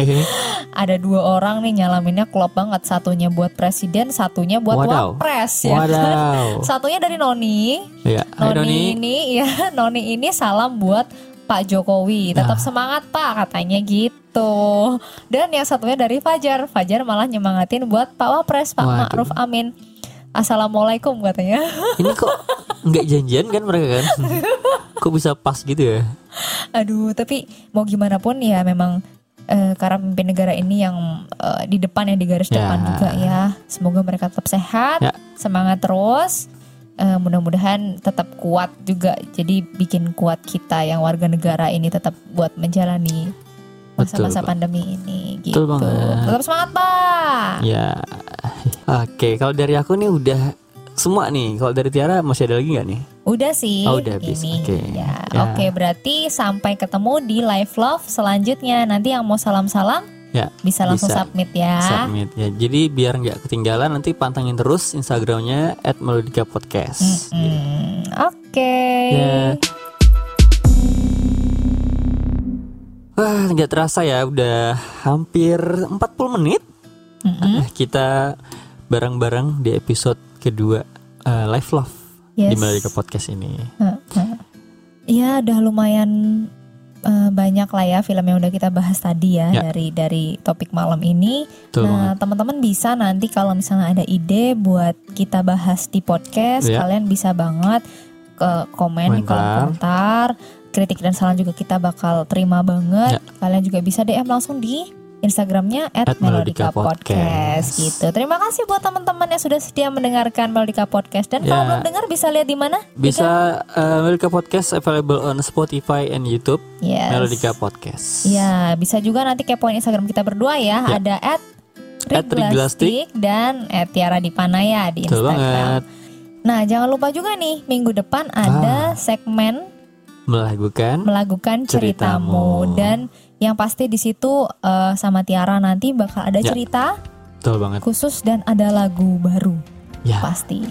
[SPEAKER 1] ada dua orang nih nyalaminnya klop banget satunya buat presiden satunya buat
[SPEAKER 4] Wadaw.
[SPEAKER 1] wapres ya kan?
[SPEAKER 4] Wadaw.
[SPEAKER 1] satunya dari Noni
[SPEAKER 4] Ya,
[SPEAKER 1] Noni,
[SPEAKER 4] hai Doni.
[SPEAKER 1] ini ya Noni ini salam buat Pak Jokowi tetap
[SPEAKER 4] Nah.
[SPEAKER 1] semangat Pak katanya gitu dan yang satunya dari Fajar Fajar malah nyemangatin buat Pak Wapres Pak
[SPEAKER 4] Waduh.
[SPEAKER 1] Ma'ruf Amin Assalamualaikum katanya
[SPEAKER 4] Ini kok nggak janjian kan mereka kan? kok bisa pas gitu ya?
[SPEAKER 1] aduh tapi mau gimana pun ya memang eh, karena pemimpin negara ini yang eh, di depan ya di garis
[SPEAKER 4] Ya.
[SPEAKER 1] depan juga ya semoga mereka tetap sehat
[SPEAKER 4] Ya.
[SPEAKER 1] semangat terus Eh, mudah-mudahan tetap kuat juga jadi bikin kuat kita yang warga negara ini tetap buat menjalani masa-masa
[SPEAKER 4] Betul, Pak.
[SPEAKER 1] pandemi ini gitu
[SPEAKER 4] Betul banget.
[SPEAKER 1] tetap semangat pak
[SPEAKER 4] Ya. Oke, kalau dari aku nih udah semua nih. Kalau dari Tiara masih ada lagi nggak nih?
[SPEAKER 1] Udah sih.
[SPEAKER 4] Oh, udah habis.
[SPEAKER 1] ini.
[SPEAKER 4] Oke.
[SPEAKER 1] Ya,
[SPEAKER 4] Ya.
[SPEAKER 1] oke berarti sampai ketemu di Live Love selanjutnya. Nanti yang mau salam-salam
[SPEAKER 4] Ya,
[SPEAKER 1] bisa langsung
[SPEAKER 4] bisa.
[SPEAKER 1] submit ya.
[SPEAKER 4] Submit ya. Jadi biar nggak ketinggalan nanti pantangin terus Instagramnya @melodikapodcast. Gitu.
[SPEAKER 1] Hmm, oke.
[SPEAKER 4] Ya. Wah, nggak terasa ya udah hampir 40 menit
[SPEAKER 1] Mm-mm.
[SPEAKER 4] eh, kita bareng-bareng di episode kedua eh, Life Love di
[SPEAKER 1] Yes.
[SPEAKER 4] Melodika Podcast ini.
[SPEAKER 1] Ya, udah lumayan eh, banyak lah ya film yang udah kita bahas tadi ya,
[SPEAKER 4] Ya.
[SPEAKER 1] dari dari topik malam ini.
[SPEAKER 4] Betul banget.
[SPEAKER 1] nah, teman-teman bisa nanti kalau misalnya ada ide buat kita bahas di podcast,
[SPEAKER 4] Ya.
[SPEAKER 1] kalian bisa banget ke komen di kolom
[SPEAKER 4] Komentar.
[SPEAKER 1] komentar. Kritik dan saran juga kita bakal terima banget.
[SPEAKER 4] Ya.
[SPEAKER 1] Kalian juga bisa DM langsung di Instagramnya
[SPEAKER 4] At Melodika Podcast.
[SPEAKER 1] @melodika_podcast gitu. Terima kasih buat teman-teman yang sudah setia mendengarkan Melodika Podcast dan kalau
[SPEAKER 4] Ya.
[SPEAKER 1] belum dengar bisa lihat di mana?
[SPEAKER 4] Bisa eh, Melodika Podcast available on Spotify and YouTube
[SPEAKER 1] Yes.
[SPEAKER 4] Melodika Podcast.
[SPEAKER 1] Ya, bisa juga nanti kepoin Instagram kita berdua ya.
[SPEAKER 4] Ya.
[SPEAKER 1] Ada at
[SPEAKER 4] At
[SPEAKER 1] Riglastik dan at Tiara Dipanaya di
[SPEAKER 4] Betul banget.
[SPEAKER 1] Instagram. Nah, jangan lupa juga nih, minggu depan
[SPEAKER 4] Ah.
[SPEAKER 1] ada segmen
[SPEAKER 4] Melakukan
[SPEAKER 1] melakukan ceritamu.
[SPEAKER 4] Ceritamu.
[SPEAKER 1] dan yang pasti di situ eh, sama Tiara nanti bakal ada
[SPEAKER 4] Ya.
[SPEAKER 1] cerita
[SPEAKER 4] betul banget.
[SPEAKER 1] khusus dan ada lagu baru
[SPEAKER 4] Ya.
[SPEAKER 1] pasti.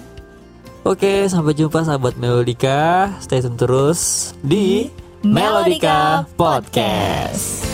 [SPEAKER 4] Oke, sampai jumpa sahabat Melodika. Stay tune terus di Melodika Podcast.